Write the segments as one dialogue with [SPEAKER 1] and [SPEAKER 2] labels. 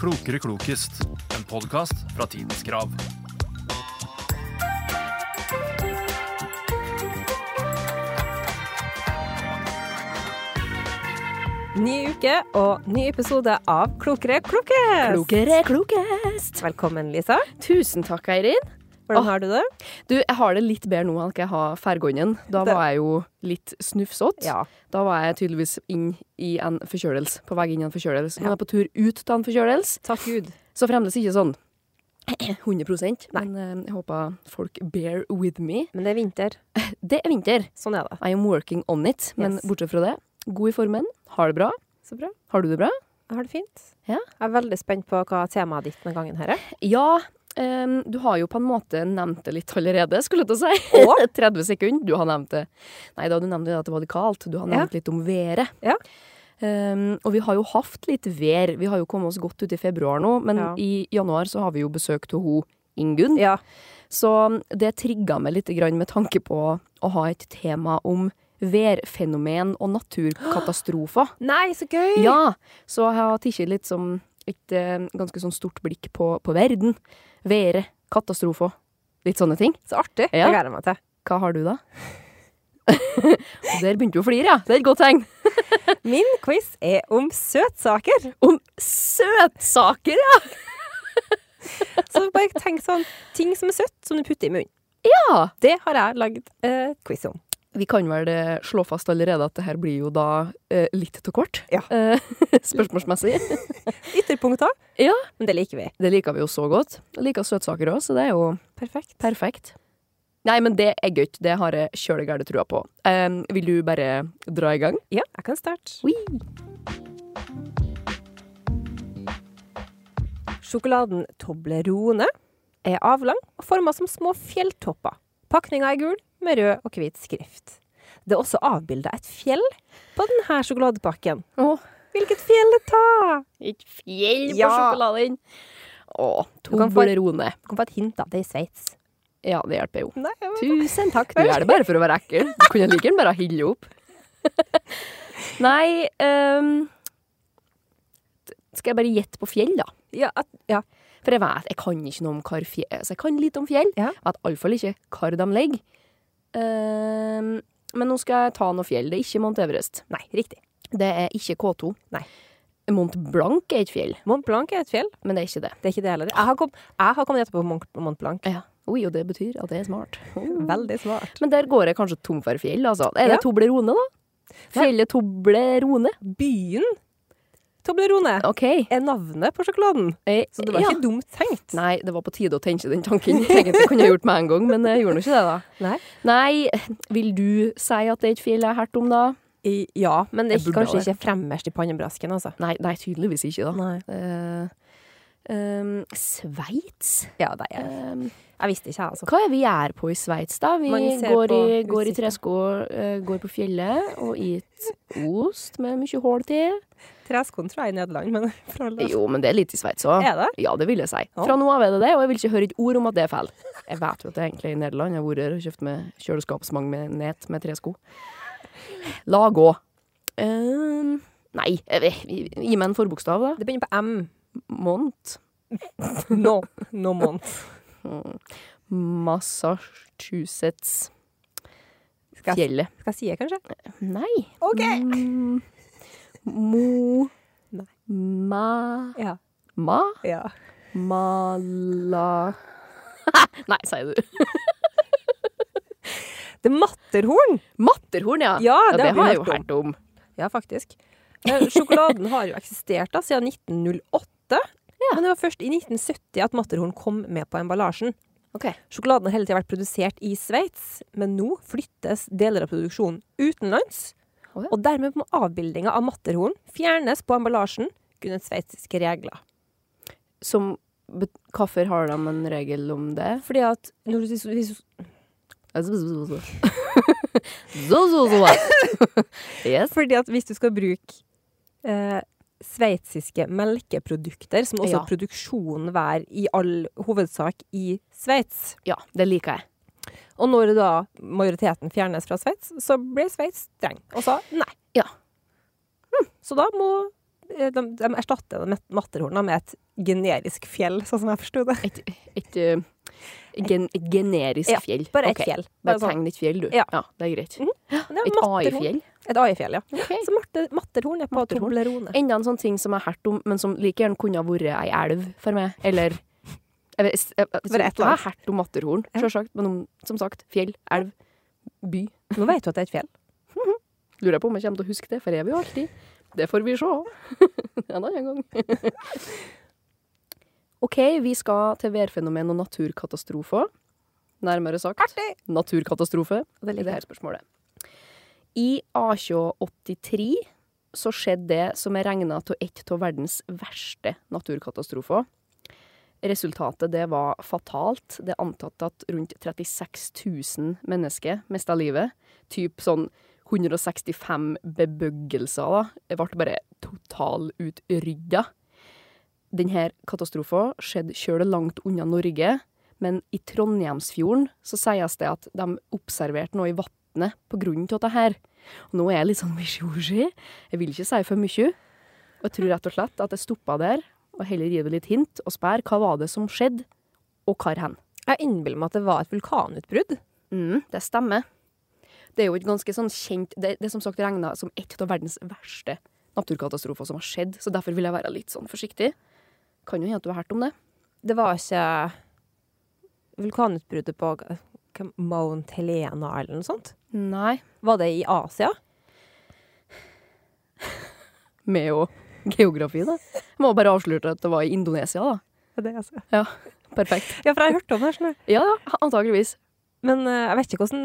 [SPEAKER 1] Klokere klokest. En podkast fra Tidens Krav.
[SPEAKER 2] Ny uke og ny episode av Klokere klokest!
[SPEAKER 3] Klokere klokest.
[SPEAKER 2] Velkommen, Lisa.
[SPEAKER 3] Tusen takk, Eirin.
[SPEAKER 2] Hvordan
[SPEAKER 3] Åh.
[SPEAKER 2] har du det?
[SPEAKER 3] Du, jeg har det litt bedre nå enn hva jeg har fergånden. Da
[SPEAKER 2] Det-
[SPEAKER 3] var jeg jo litt snufsete. Da var jeg tydeligvis inn i en forkjølelse. På vei inn i en forkjølelse. Men jeg er på tur ut av en forkjølelse,
[SPEAKER 2] Takk Gud.
[SPEAKER 3] så fremdeles ikke sånn 100 Men eh, jeg håper folk bear with me.
[SPEAKER 2] Men det er vinter.
[SPEAKER 3] Det er vinter.
[SPEAKER 2] Sånn er det.
[SPEAKER 3] I am working on it. Men
[SPEAKER 2] Yes.
[SPEAKER 3] bortsett fra det, god i formen. Har det bra.
[SPEAKER 2] Så bra.
[SPEAKER 3] Har du det bra?
[SPEAKER 2] Jeg har det fint.
[SPEAKER 3] Ja.
[SPEAKER 2] Jeg er veldig spent på hva temaet ditt denne gangen her er.
[SPEAKER 3] Ja, ehm, du har jo på en måte nevnt det litt allerede, skulle jeg til å si.
[SPEAKER 2] Å?
[SPEAKER 3] 30 sekunder. Du har nevnt det. Nei da, du nevnte jo at det var litt kaldt. Du har
[SPEAKER 2] Ja.
[SPEAKER 3] nevnt litt om været.
[SPEAKER 2] Ja.
[SPEAKER 3] Ehm, og vi har jo hatt litt vær. Vi har jo kommet oss godt ut i februar nå, men
[SPEAKER 2] Ja.
[SPEAKER 3] i januar så har vi jo besøk av hun Ingunn.
[SPEAKER 2] Ja.
[SPEAKER 3] Så ehm, det trigga meg litt grann med tanke på å ha et tema om værfenomen og naturkatastrofer.
[SPEAKER 2] Nei, så gøy!
[SPEAKER 3] Ja, så jeg har tatt litt som et eh, ganske sånn stort blikk på, på verden. Været, katastrofer, litt sånne ting.
[SPEAKER 2] Så artig.
[SPEAKER 3] Ja.
[SPEAKER 2] Det gleder jeg meg til.
[SPEAKER 3] Hva har du da? Og Der begynte du å flire, ja. Det er et godt tegn.
[SPEAKER 2] Min quiz er om søtsaker.
[SPEAKER 3] Om søtsaker, ja!
[SPEAKER 2] Så bare tenk sånn ting som er søtt, som du putter i munnen.
[SPEAKER 3] Ja.
[SPEAKER 2] Det har jeg lagd eh, quiz om.
[SPEAKER 3] Vi kan vel eh, slå fast allerede at det her blir jo da eh, litt til kort.
[SPEAKER 2] Ja.
[SPEAKER 3] Eh, spørsmålsmessig.
[SPEAKER 2] Ytterpunkter.
[SPEAKER 3] Ja.
[SPEAKER 2] Men det liker vi.
[SPEAKER 3] Det liker vi jo så godt. Jeg liker søtsaker òg, så det er jo
[SPEAKER 2] Perfekt.
[SPEAKER 3] perfekt. Nei, men det er gøy. Det har jeg kjølegæle trua på. Eh, vil du bare dra i gang?
[SPEAKER 2] Ja, jeg kan starte.
[SPEAKER 3] Oi.
[SPEAKER 2] Sjokoladen Toblerone er avlang og forma som små fjelltopper. Pakninga er gul med rød og hvit skrift. Det er også avbilda et fjell på denne sjokoladepakken.
[SPEAKER 3] Åh.
[SPEAKER 2] Hjelket fjellet ta!
[SPEAKER 3] Et fjell
[SPEAKER 2] Ja.
[SPEAKER 3] sjokoladen. Å,
[SPEAKER 2] Du kan få-
[SPEAKER 3] Toblerone.
[SPEAKER 2] Du kan få et hint, da. Det er i Sveits.
[SPEAKER 3] Ja, det hjelper jo.
[SPEAKER 2] Nei, jeg vet-
[SPEAKER 3] Tusen takk. Du er det bare for å være ekkel. Du kunne like gjerne bare ha hille opp. Nei ehm, t- Skal jeg bare gjette på fjell, da?
[SPEAKER 2] ja, at, ja.
[SPEAKER 3] For jeg vet, jeg kan ikke noe om hva fjell altså, Jeg kan litt om fjell.
[SPEAKER 2] Ja.
[SPEAKER 3] Jeg vet iallfall ikke hvor de ligger. Ehm, men nå skal jeg ta noe fjell. Det er ikke Mount Everest.
[SPEAKER 2] Nei, riktig.
[SPEAKER 3] Det er ikke K2.
[SPEAKER 2] Nei.
[SPEAKER 3] Mont Blanc er et fjell,
[SPEAKER 2] Mont Blanc er et fjell.
[SPEAKER 3] men det er ikke det.
[SPEAKER 2] Det er ikke det heller. Jeg har, kom, jeg har kommet etterpå på Mont, Mont Blanc.
[SPEAKER 3] Ja. Oi, og det betyr at det er smart.
[SPEAKER 2] Uh. Veldig smart.
[SPEAKER 3] Men der går jeg kanskje tom for fjell, altså. Er det
[SPEAKER 2] Ja.
[SPEAKER 3] Toblerone, da? Fjellet Toblerone?
[SPEAKER 2] Byen Toblerone
[SPEAKER 3] OK.
[SPEAKER 2] er navnet på sjokoladen.
[SPEAKER 3] Eh,
[SPEAKER 2] Så det var
[SPEAKER 3] ja.
[SPEAKER 2] ikke dumt tenkt.
[SPEAKER 3] Nei, det var på tide å tenke den tanken. Egentlig kunne jeg gjort med en gang, men jeg gjorde nå ikke det, da.
[SPEAKER 2] Nei.
[SPEAKER 3] Nei, vil du si at det er et fjell jeg har hørt om, da?
[SPEAKER 2] I, ja, men det er
[SPEAKER 3] Jeg burde
[SPEAKER 2] kanskje
[SPEAKER 3] ha
[SPEAKER 2] ikke fremmerst i pannebrasken, altså.
[SPEAKER 3] Nei, nei tydeligvis ikke, da.
[SPEAKER 2] Nei.
[SPEAKER 3] Eh, ehm, Sveits?
[SPEAKER 2] Ja, det er jeg.
[SPEAKER 3] Ehm,
[SPEAKER 2] Jeg visste ikke, jeg, altså.
[SPEAKER 3] hva er vi gjør på i Sveits, da? Vi
[SPEAKER 2] Man ser
[SPEAKER 3] går i,
[SPEAKER 2] på
[SPEAKER 3] går i
[SPEAKER 2] utsikten.
[SPEAKER 3] tresko, eh, går på fjellet og spiser ost med mye hull til.
[SPEAKER 2] Treskoen tror jeg er i Nederland, men for all del.
[SPEAKER 3] Jo, men det er litt i Sveits òg.
[SPEAKER 2] Er det?
[SPEAKER 3] Ja, det vil jeg si.
[SPEAKER 2] Ja.
[SPEAKER 3] Fra nå av er det det, og jeg vil ikke høre et ord om at det er feil. Jeg vet jo at det er egentlig i Nederland. Jeg har vært der og kjøpt med kjøleskapsmagnet med tre sko. La gå. Ehm, nei, jeg vet- gi meg en forbokstav, da.
[SPEAKER 2] Det begynner på M.
[SPEAKER 3] Mont.
[SPEAKER 2] No. No month.
[SPEAKER 3] Massachusetts.
[SPEAKER 2] Skal jeg,
[SPEAKER 3] Fjellet.
[SPEAKER 2] skal jeg si det, kanskje?
[SPEAKER 3] Nei.
[SPEAKER 2] OK!
[SPEAKER 3] Mm, mo...
[SPEAKER 2] Nei.
[SPEAKER 3] Ma...
[SPEAKER 2] Ja.
[SPEAKER 3] Ma...
[SPEAKER 2] ja.
[SPEAKER 3] Mala... Nei, sier du.
[SPEAKER 2] Det er Matterhorn!
[SPEAKER 3] Matterhorn, ja.
[SPEAKER 2] Ja, det har
[SPEAKER 3] det
[SPEAKER 2] vi
[SPEAKER 3] har jeg jo
[SPEAKER 2] hørt om.
[SPEAKER 3] hørt om.
[SPEAKER 2] Ja, faktisk. Men Eh, Sjokoladen har jo eksistert da, siden 1908. Men det var først i 1970 at Matterhorn kom med på emballasjen.
[SPEAKER 3] Ok.
[SPEAKER 2] Sjokoladen har hele tiden vært produsert i Sveits, men nå flyttes deler av produksjonen utenlands.
[SPEAKER 3] Å ja.
[SPEAKER 2] Og dermed må avbildinga av Matterhorn fjernes på emballasjen grunnet sveitsiske regler.
[SPEAKER 3] som bet- Hvorfor har de en regel om det? Altså,
[SPEAKER 2] Fordi at når du, hvis,
[SPEAKER 3] Så, så, så. Yes.
[SPEAKER 2] fordi at hvis du skal bruke eh, sveitsiske melkeprodukter, så må også
[SPEAKER 3] Ja.
[SPEAKER 2] produksjonen være i all hovedsak i Sveits.
[SPEAKER 3] Ja, det liker jeg.
[SPEAKER 2] Og når da majoriteten fjernes fra Sveits, så ble Sveits streng og sa nei.
[SPEAKER 3] Ja.
[SPEAKER 2] Hm, så da må eh, de, de erstatter den Matterhorna med et generisk fjell, sånn som jeg forsto det.
[SPEAKER 3] Et, et, eh, gen, et generisk
[SPEAKER 2] Ja,
[SPEAKER 3] fjell.
[SPEAKER 2] Bare et
[SPEAKER 3] Ok.
[SPEAKER 2] fjell.
[SPEAKER 3] Bare
[SPEAKER 2] Bare sånn.
[SPEAKER 3] tegn et fjell, du.
[SPEAKER 2] Ja. Mm,
[SPEAKER 3] Ja, det er greit.
[SPEAKER 2] Men det er
[SPEAKER 3] Et
[SPEAKER 2] Matterhorn.
[SPEAKER 3] AI-fjell.
[SPEAKER 2] Et AI-fjell, ja.
[SPEAKER 3] Ok.
[SPEAKER 2] Så Marte, Matterhorn er på
[SPEAKER 3] Matterhorn.
[SPEAKER 2] Toblerone.
[SPEAKER 3] Enda en sånn ting som jeg har hørt om, men som like gjerne kunne ha vært ei elv for meg. Eller jeg vet, jeg, jeg,
[SPEAKER 2] Bare et
[SPEAKER 3] jeg
[SPEAKER 2] eller
[SPEAKER 3] har
[SPEAKER 2] annet.
[SPEAKER 3] hørt om Matterhorn,
[SPEAKER 2] Ja.
[SPEAKER 3] sjølsagt. Men om, som sagt, fjell, elv, by.
[SPEAKER 2] Nå vet du at det er et fjell.
[SPEAKER 3] Lurer jeg på om jeg kommer til å huske det, for jeg vil jo alltid. Det får vi se. en annen gang. OK, vi skal til værfenomen og naturkatastrofer. Nærmere sagt
[SPEAKER 2] Artig!
[SPEAKER 3] naturkatastrofe
[SPEAKER 2] Og det
[SPEAKER 3] i det
[SPEAKER 2] ligger
[SPEAKER 3] her spørsmålet. I A283 så skjedde det som er regna til et av verdens verste naturkatastrofer. Resultatet det var fatalt. Det er antatt at rundt 36 000 mennesker mista livet. Typ sånn 165 bebøggelser da. Det ble bare totalutrydda. Denne katastrofen skjedde sjøl langt unna Norge. Men i Trondheimsfjorden så sies det at de observerte noe i vannet på grunn av dette. her. Og nå er jeg litt sånn misjorgi. Jeg vil ikke si for mye. Og jeg tror rett og slett at jeg stoppa der, og heller gi det litt hint og spør hva var det som skjedde, og hvor hen.
[SPEAKER 2] Jeg innbiller meg at det var et vulkanutbrudd.
[SPEAKER 3] Mm, det stemmer. Det er jo et ganske sånn kjent Det, det er som sagt regna som et av verdens verste naturkatastrofer som har skjedd, så derfor vil jeg være litt sånn forsiktig. Kan jo hende at du har hørt om det.
[SPEAKER 2] Det var ikke vulkanutbruddet på eh, hva- Mount Helena eller noe sånt.
[SPEAKER 3] Nei.
[SPEAKER 2] Var det i Asia?
[SPEAKER 3] med jo geografi, da. Jeg må bare avsløre at det var i Indonesia, da.
[SPEAKER 2] Det, altså.
[SPEAKER 3] Perfekt.
[SPEAKER 2] Ja, for jeg hørte om det. skjønner du.
[SPEAKER 3] Ja, ja, antageligvis.
[SPEAKER 2] Men eh, jeg vet ikke hvordan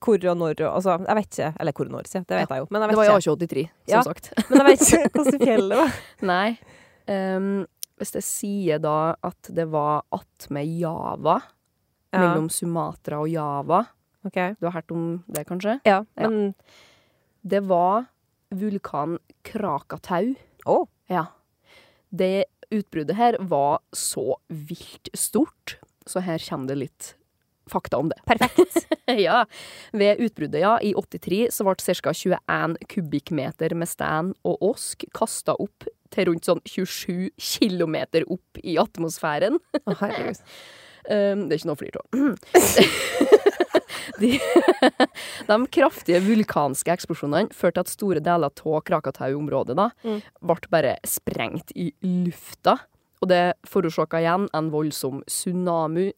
[SPEAKER 2] Hvor og når og altså, Jeg vet ikke. Eller hvor og når, sier jeg. Det vet jeg jo. Men
[SPEAKER 3] Det
[SPEAKER 2] jeg
[SPEAKER 3] var i
[SPEAKER 2] vet ikke,
[SPEAKER 3] A283, som
[SPEAKER 2] Ja.
[SPEAKER 3] sagt.
[SPEAKER 2] men jeg vet ikke hvordan fjellet var.
[SPEAKER 3] Nei. ehm, hvis jeg sier da at det var attmed Java,
[SPEAKER 2] Ja,
[SPEAKER 3] mellom Sumatra og Java
[SPEAKER 2] ok.
[SPEAKER 3] Du har hørt om det, kanskje?
[SPEAKER 2] ja,
[SPEAKER 3] Ja.
[SPEAKER 2] men
[SPEAKER 3] Det var vulkan Krakatau.
[SPEAKER 2] Å.
[SPEAKER 3] Ja. Det utbruddet her var så vilt stort, så her kommer det litt fakta om det.
[SPEAKER 2] perfekt.
[SPEAKER 3] ja. Ved utbruddet ja, i 83 så ble ca. 21 kubikkmeter med stein og åsk kasta opp til rundt sånn 27 kilometer opp i atmosfæren.
[SPEAKER 2] Å, herregud.
[SPEAKER 3] Um, det er ikke noe å flire av. de, de kraftige vulkanske eksplosjonene førte til at store deler av Krakatau-området da,
[SPEAKER 2] Mm.
[SPEAKER 3] ble bare sprengt i lufta. Og det forårsaka igjen en voldsom tsunami,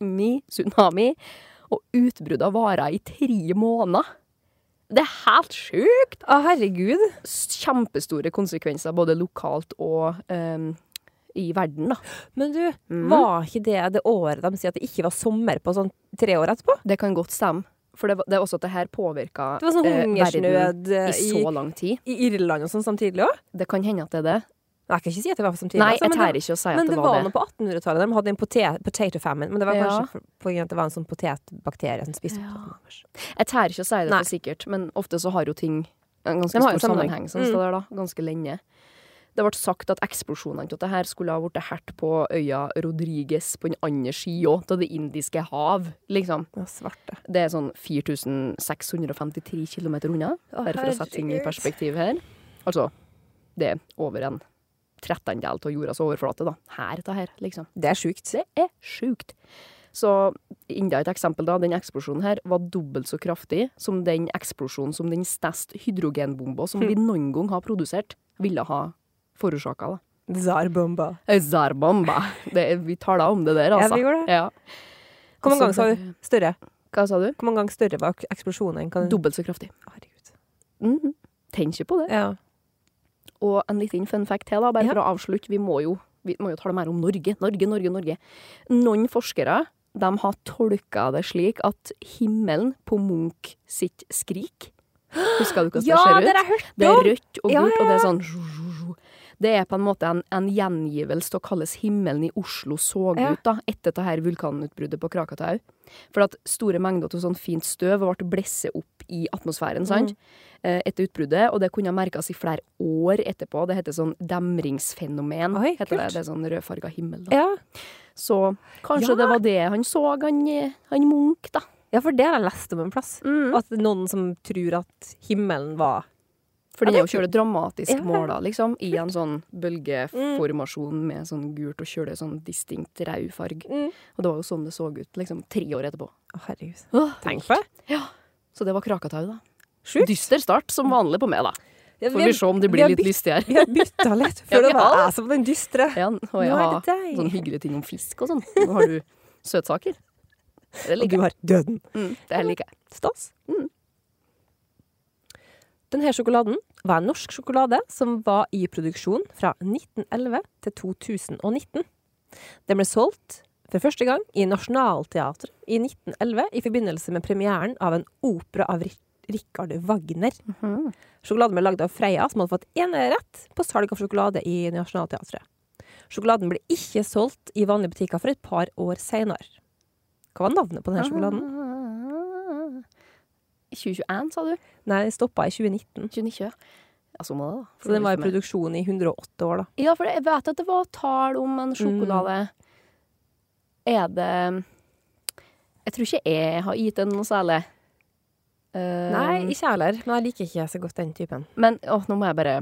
[SPEAKER 3] tsunami og utbruddet varer i tre måneder. Det er helt sjukt!
[SPEAKER 2] Å, herregud.
[SPEAKER 3] Kjempestore konsekvenser både lokalt og um, i verden, da.
[SPEAKER 2] Men du,
[SPEAKER 3] Mhm.
[SPEAKER 2] var ikke det det året de sier at det ikke var sommer på sånn tre år etterpå?
[SPEAKER 3] Det kan godt stemme. For det, var- det er også at det her påvirka
[SPEAKER 2] Det var sånn
[SPEAKER 3] eh, verden
[SPEAKER 2] hungersnød eh,
[SPEAKER 3] i
[SPEAKER 2] i,
[SPEAKER 3] så lang tid.
[SPEAKER 2] i Irland og sånn samtidig òg?
[SPEAKER 3] Det kan hende at det er det.
[SPEAKER 2] Jeg kan ikke si at det var samtidig.
[SPEAKER 3] Nei,
[SPEAKER 2] altså,
[SPEAKER 3] jeg
[SPEAKER 2] men
[SPEAKER 3] tør
[SPEAKER 2] det,
[SPEAKER 3] ikke å si at
[SPEAKER 2] men
[SPEAKER 3] det var det.
[SPEAKER 2] noe på 1800-tallet. De hadde en potet, potato famine, men det var
[SPEAKER 3] Ja.
[SPEAKER 2] kanskje for- på grunn av at det var en sånn potetbakterie som spiste
[SPEAKER 3] Ja.
[SPEAKER 2] potetene våre.
[SPEAKER 3] Jeg tør ikke å si det
[SPEAKER 2] Nei.
[SPEAKER 3] for sikkert, men ofte så har jo ting en
[SPEAKER 2] De
[SPEAKER 3] ganske
[SPEAKER 2] har jo Mm.
[SPEAKER 3] stor
[SPEAKER 2] sammenheng.
[SPEAKER 3] sammenheng, sånn som står der, da. Ganske lenge. Det ble sagt at eksplosjonene til dette her skulle ha blitt hardt på øya Rodriguez på den andre sida av Det indiske hav, liksom.
[SPEAKER 2] Ja, svarte.
[SPEAKER 3] Det er sånn 4653 km unna,
[SPEAKER 2] Å,
[SPEAKER 3] bare for å sette ting i
[SPEAKER 2] herregud.
[SPEAKER 3] perspektiv her. Altså, det er over en trettendel av jordas overflate, da. Her, da her, liksom.
[SPEAKER 2] Det er sjukt.
[SPEAKER 3] Det er sjukt. Så enda et eksempel, da. Den eksplosjonen her var dobbelt så kraftig som den eksplosjonen som den største hydrogenbomba som
[SPEAKER 2] Hm.
[SPEAKER 3] vi noen gang har produsert, ville ha forårsaka, da.
[SPEAKER 2] Zarbomba.
[SPEAKER 3] Zarbamba. Det, vi tala om det der,
[SPEAKER 2] Ja,
[SPEAKER 3] altså.
[SPEAKER 2] vi gjorde det.
[SPEAKER 3] Ja.
[SPEAKER 2] Hvor mange
[SPEAKER 3] Så
[SPEAKER 2] ganger sa
[SPEAKER 3] det-
[SPEAKER 2] du større?
[SPEAKER 3] Hva sa du?
[SPEAKER 2] Hvor mange ganger større var eksplosjonen? enn hva-
[SPEAKER 3] Dobbelt så kraftig.
[SPEAKER 2] Herregud.
[SPEAKER 3] Mhm. Tenk ikke på det.
[SPEAKER 2] Ja.
[SPEAKER 3] Og en liten fun fact til, da, bare
[SPEAKER 2] Ja.
[SPEAKER 3] for å avslutte. Vi må jo, vi må jo tale mer om Norge. Norge, Norge, Norge. Noen forskere de har tolka det slik at himmelen på Munch sitt skrik Husker du hvordan det ser ut?
[SPEAKER 2] det har jeg hørt
[SPEAKER 3] Det er rødt og gult,
[SPEAKER 2] Ja, ja,
[SPEAKER 3] og det er sånn Det er på en måte en, en gjengivelse av hvordan himmelen i Oslo så
[SPEAKER 2] Ja.
[SPEAKER 3] ut da, etter dette her vulkanutbruddet på Krakatau. For at store mengder av sånn fint støv ble blesset opp i atmosfæren
[SPEAKER 2] Mm.
[SPEAKER 3] sant? Eh, etter utbruddet, og det kunne merkes i flere år etterpå. Det heter sånn demringsfenomen.
[SPEAKER 2] Oi,
[SPEAKER 3] heter det.
[SPEAKER 2] kult.
[SPEAKER 3] det er sånn rødfarga himmel. Da.
[SPEAKER 2] Ja.
[SPEAKER 3] Så kanskje
[SPEAKER 2] Ja.
[SPEAKER 3] det var det han så, han, eh, han Munch, da.
[SPEAKER 2] ja, for det har jeg lest om en plass.
[SPEAKER 3] Mm.
[SPEAKER 2] At det er noen som tror at himmelen var
[SPEAKER 3] For
[SPEAKER 2] Ja,
[SPEAKER 3] den er
[SPEAKER 2] det
[SPEAKER 3] jo
[SPEAKER 2] er
[SPEAKER 3] kjølig dramatisk
[SPEAKER 2] Ja.
[SPEAKER 3] måla, liksom. I en sånn bølgeformasjon med sånn gult og kjølig sånn distinkt rød farge.
[SPEAKER 2] Mm.
[SPEAKER 3] Og det var jo sånn det så ut liksom tre år etterpå.
[SPEAKER 2] Å, herregud.
[SPEAKER 3] Åh,
[SPEAKER 2] Tenk på det.
[SPEAKER 3] Så det var Krakatau, da.
[SPEAKER 2] Sjukt.
[SPEAKER 3] Dyster start som vanlig på meg, da.
[SPEAKER 2] Ja,
[SPEAKER 3] Får vi se om det blir
[SPEAKER 2] har
[SPEAKER 3] litt
[SPEAKER 2] bytt-
[SPEAKER 3] lystig her.
[SPEAKER 2] Vi har bytta litt,
[SPEAKER 3] Ja,
[SPEAKER 2] for det
[SPEAKER 3] vi
[SPEAKER 2] var
[SPEAKER 3] har.
[SPEAKER 2] jeg som var den dystre.
[SPEAKER 3] Ja, og jeg
[SPEAKER 2] Nå er
[SPEAKER 3] har
[SPEAKER 2] det deg.
[SPEAKER 3] sånne hyggelige ting om fisk og sånn. Nå har du søtsaker. Det
[SPEAKER 2] Og du
[SPEAKER 3] liker jeg.
[SPEAKER 2] har døden.
[SPEAKER 3] Mm, det liker jeg.
[SPEAKER 2] Stas.
[SPEAKER 3] Mm.
[SPEAKER 2] Denne sjokoladen var en norsk sjokolade som var i produksjon fra 1911 til 2019. Den ble solgt for første gang i Nationaltheatret i 1911 i forbindelse med premieren av en opera av Ri- Richard Wagner. Sjokoladen ble lagd av Freia, som hadde fått enerett på salg av sjokolade i Nationaltheatret. Sjokoladen ble ikke solgt i vanlige butikker for et par år seinere. Hva var navnet på denne sjokoladen?
[SPEAKER 3] 2021, sa du?
[SPEAKER 2] Nei, den stoppa i 2019.
[SPEAKER 3] 2019, ja. Ja, så må det, da.
[SPEAKER 2] Så den var i
[SPEAKER 3] For- liksom
[SPEAKER 2] produksjon i 108 år, da.
[SPEAKER 3] Ja, for jeg vet at det var tall om en sjokolade. Er det Jeg tror ikke jeg har gitt den noe særlig. Eh,
[SPEAKER 2] ikke jeg heller. Men jeg liker ikke så godt den typen.
[SPEAKER 3] Men åh, nå må jeg bare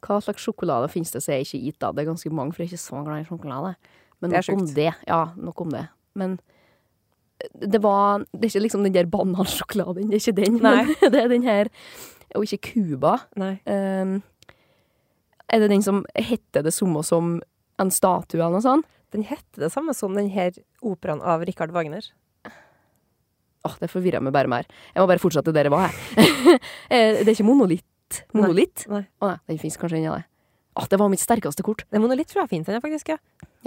[SPEAKER 3] Hva slags sjokolade finnes det som jeg ikke har gitt, da? Det er ganske mange, for jeg er ikke så glad i sjokolade. Men
[SPEAKER 2] Det er
[SPEAKER 3] nok om
[SPEAKER 2] sjukt.
[SPEAKER 3] det. Ja, nok om det. Men eh, det var Det er ikke liksom den der banansjokoladen, det er ikke den. Men det er den her. Og ikke Cuba.
[SPEAKER 2] Nei.
[SPEAKER 3] Ehm, er det den som heter det samme som en statue eller noe sånt?
[SPEAKER 2] Den heter det samme som den her operaen av Richard Wagner.
[SPEAKER 3] Åh, det forvirrer meg bare mer. Jeg må bare fortsette der jeg var, jeg. Eh, det er ikke monolitt. Monolitt?
[SPEAKER 2] Nei.
[SPEAKER 3] Å nei, den fins kanskje ennå, det. Åh, det var mitt sterkeste kort.
[SPEAKER 2] Den monolitt tror jeg er fint, den er faktisk. Ja.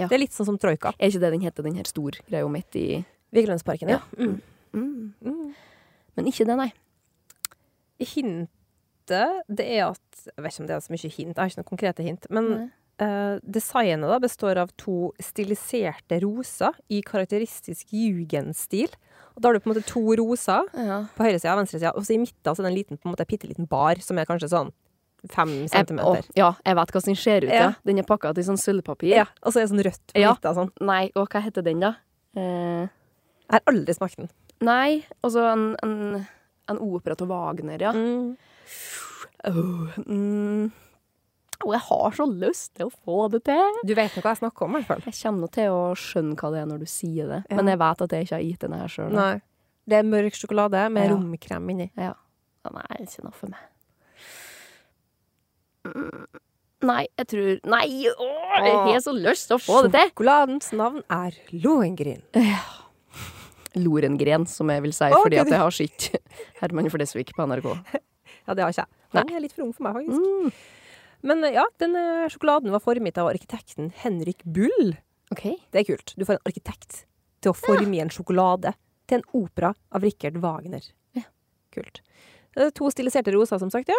[SPEAKER 3] Ja.
[SPEAKER 2] Det er litt sånn som Troika.
[SPEAKER 3] Er ikke det den heter, den her stor greia midt i
[SPEAKER 2] Vigelandsparken, ja. Mm.
[SPEAKER 3] Men ikke det, nei.
[SPEAKER 2] Hintet det er at Jeg vet ikke om det er så mye hint, jeg har ikke noen konkrete hint. Men eh, designet da består av to stiliserte roser i karakteristisk jugendstil. Og da har du på en måte to roser
[SPEAKER 3] Ja.
[SPEAKER 2] på høyre sida og venstre sida, og så i midten så er det en liten, på en måte, bitte liten bar, som er kanskje sånn fem
[SPEAKER 3] Jeg,
[SPEAKER 2] centimeter.
[SPEAKER 3] åh, ja, jeg vet hvordan den ser ut, ja.
[SPEAKER 2] Ja.
[SPEAKER 3] Den er pakka til sånn sølvpapir.
[SPEAKER 2] Ja, og så er det sånn rødt på
[SPEAKER 3] Ja.
[SPEAKER 2] midten. Sånn.
[SPEAKER 3] Nei, og hva heter den, da? Eh,
[SPEAKER 2] Jeg har aldri smakt den.
[SPEAKER 3] nei, og så en, en, en opera til Wagner,
[SPEAKER 2] Ah.
[SPEAKER 3] ja.
[SPEAKER 2] Mm.
[SPEAKER 3] Åh, mm. Åh, jeg har så lyst til å få det til.
[SPEAKER 2] Du vet nå hva jeg snakker om, i hvert fall.
[SPEAKER 3] Jeg kommer nå til å skjønne hva det er når du sier det,
[SPEAKER 2] Ja.
[SPEAKER 3] men jeg vet at jeg ikke har gitt den her sjøl.
[SPEAKER 2] Nei. Det er mørk sjokolade med
[SPEAKER 3] Ja.
[SPEAKER 2] romkrem inni.
[SPEAKER 3] Ja. Ja, Nei, det er ikke noe for meg. Mm. Nei, jeg tror Nei, åh, jeg har så lyst til å få det til!
[SPEAKER 2] Sjokoladens navn er Lohengrin.
[SPEAKER 3] Lorengren, som jeg vil si,
[SPEAKER 2] Å,
[SPEAKER 3] fordi
[SPEAKER 2] Gud.
[SPEAKER 3] at jeg har sett Herman Flesvig på NRK.
[SPEAKER 2] Ja, det har ikke jeg. Han er litt for ung for meg, faktisk. Men eh, ja, denne sjokoladen var formet av arkitekten Henrik Bull.
[SPEAKER 3] Ok.
[SPEAKER 2] Det er kult. Du får en arkitekt til å forme en sjokolade til en opera av Richard Wagner. Kult. Det er To stiliserte roser, som sagt, ja.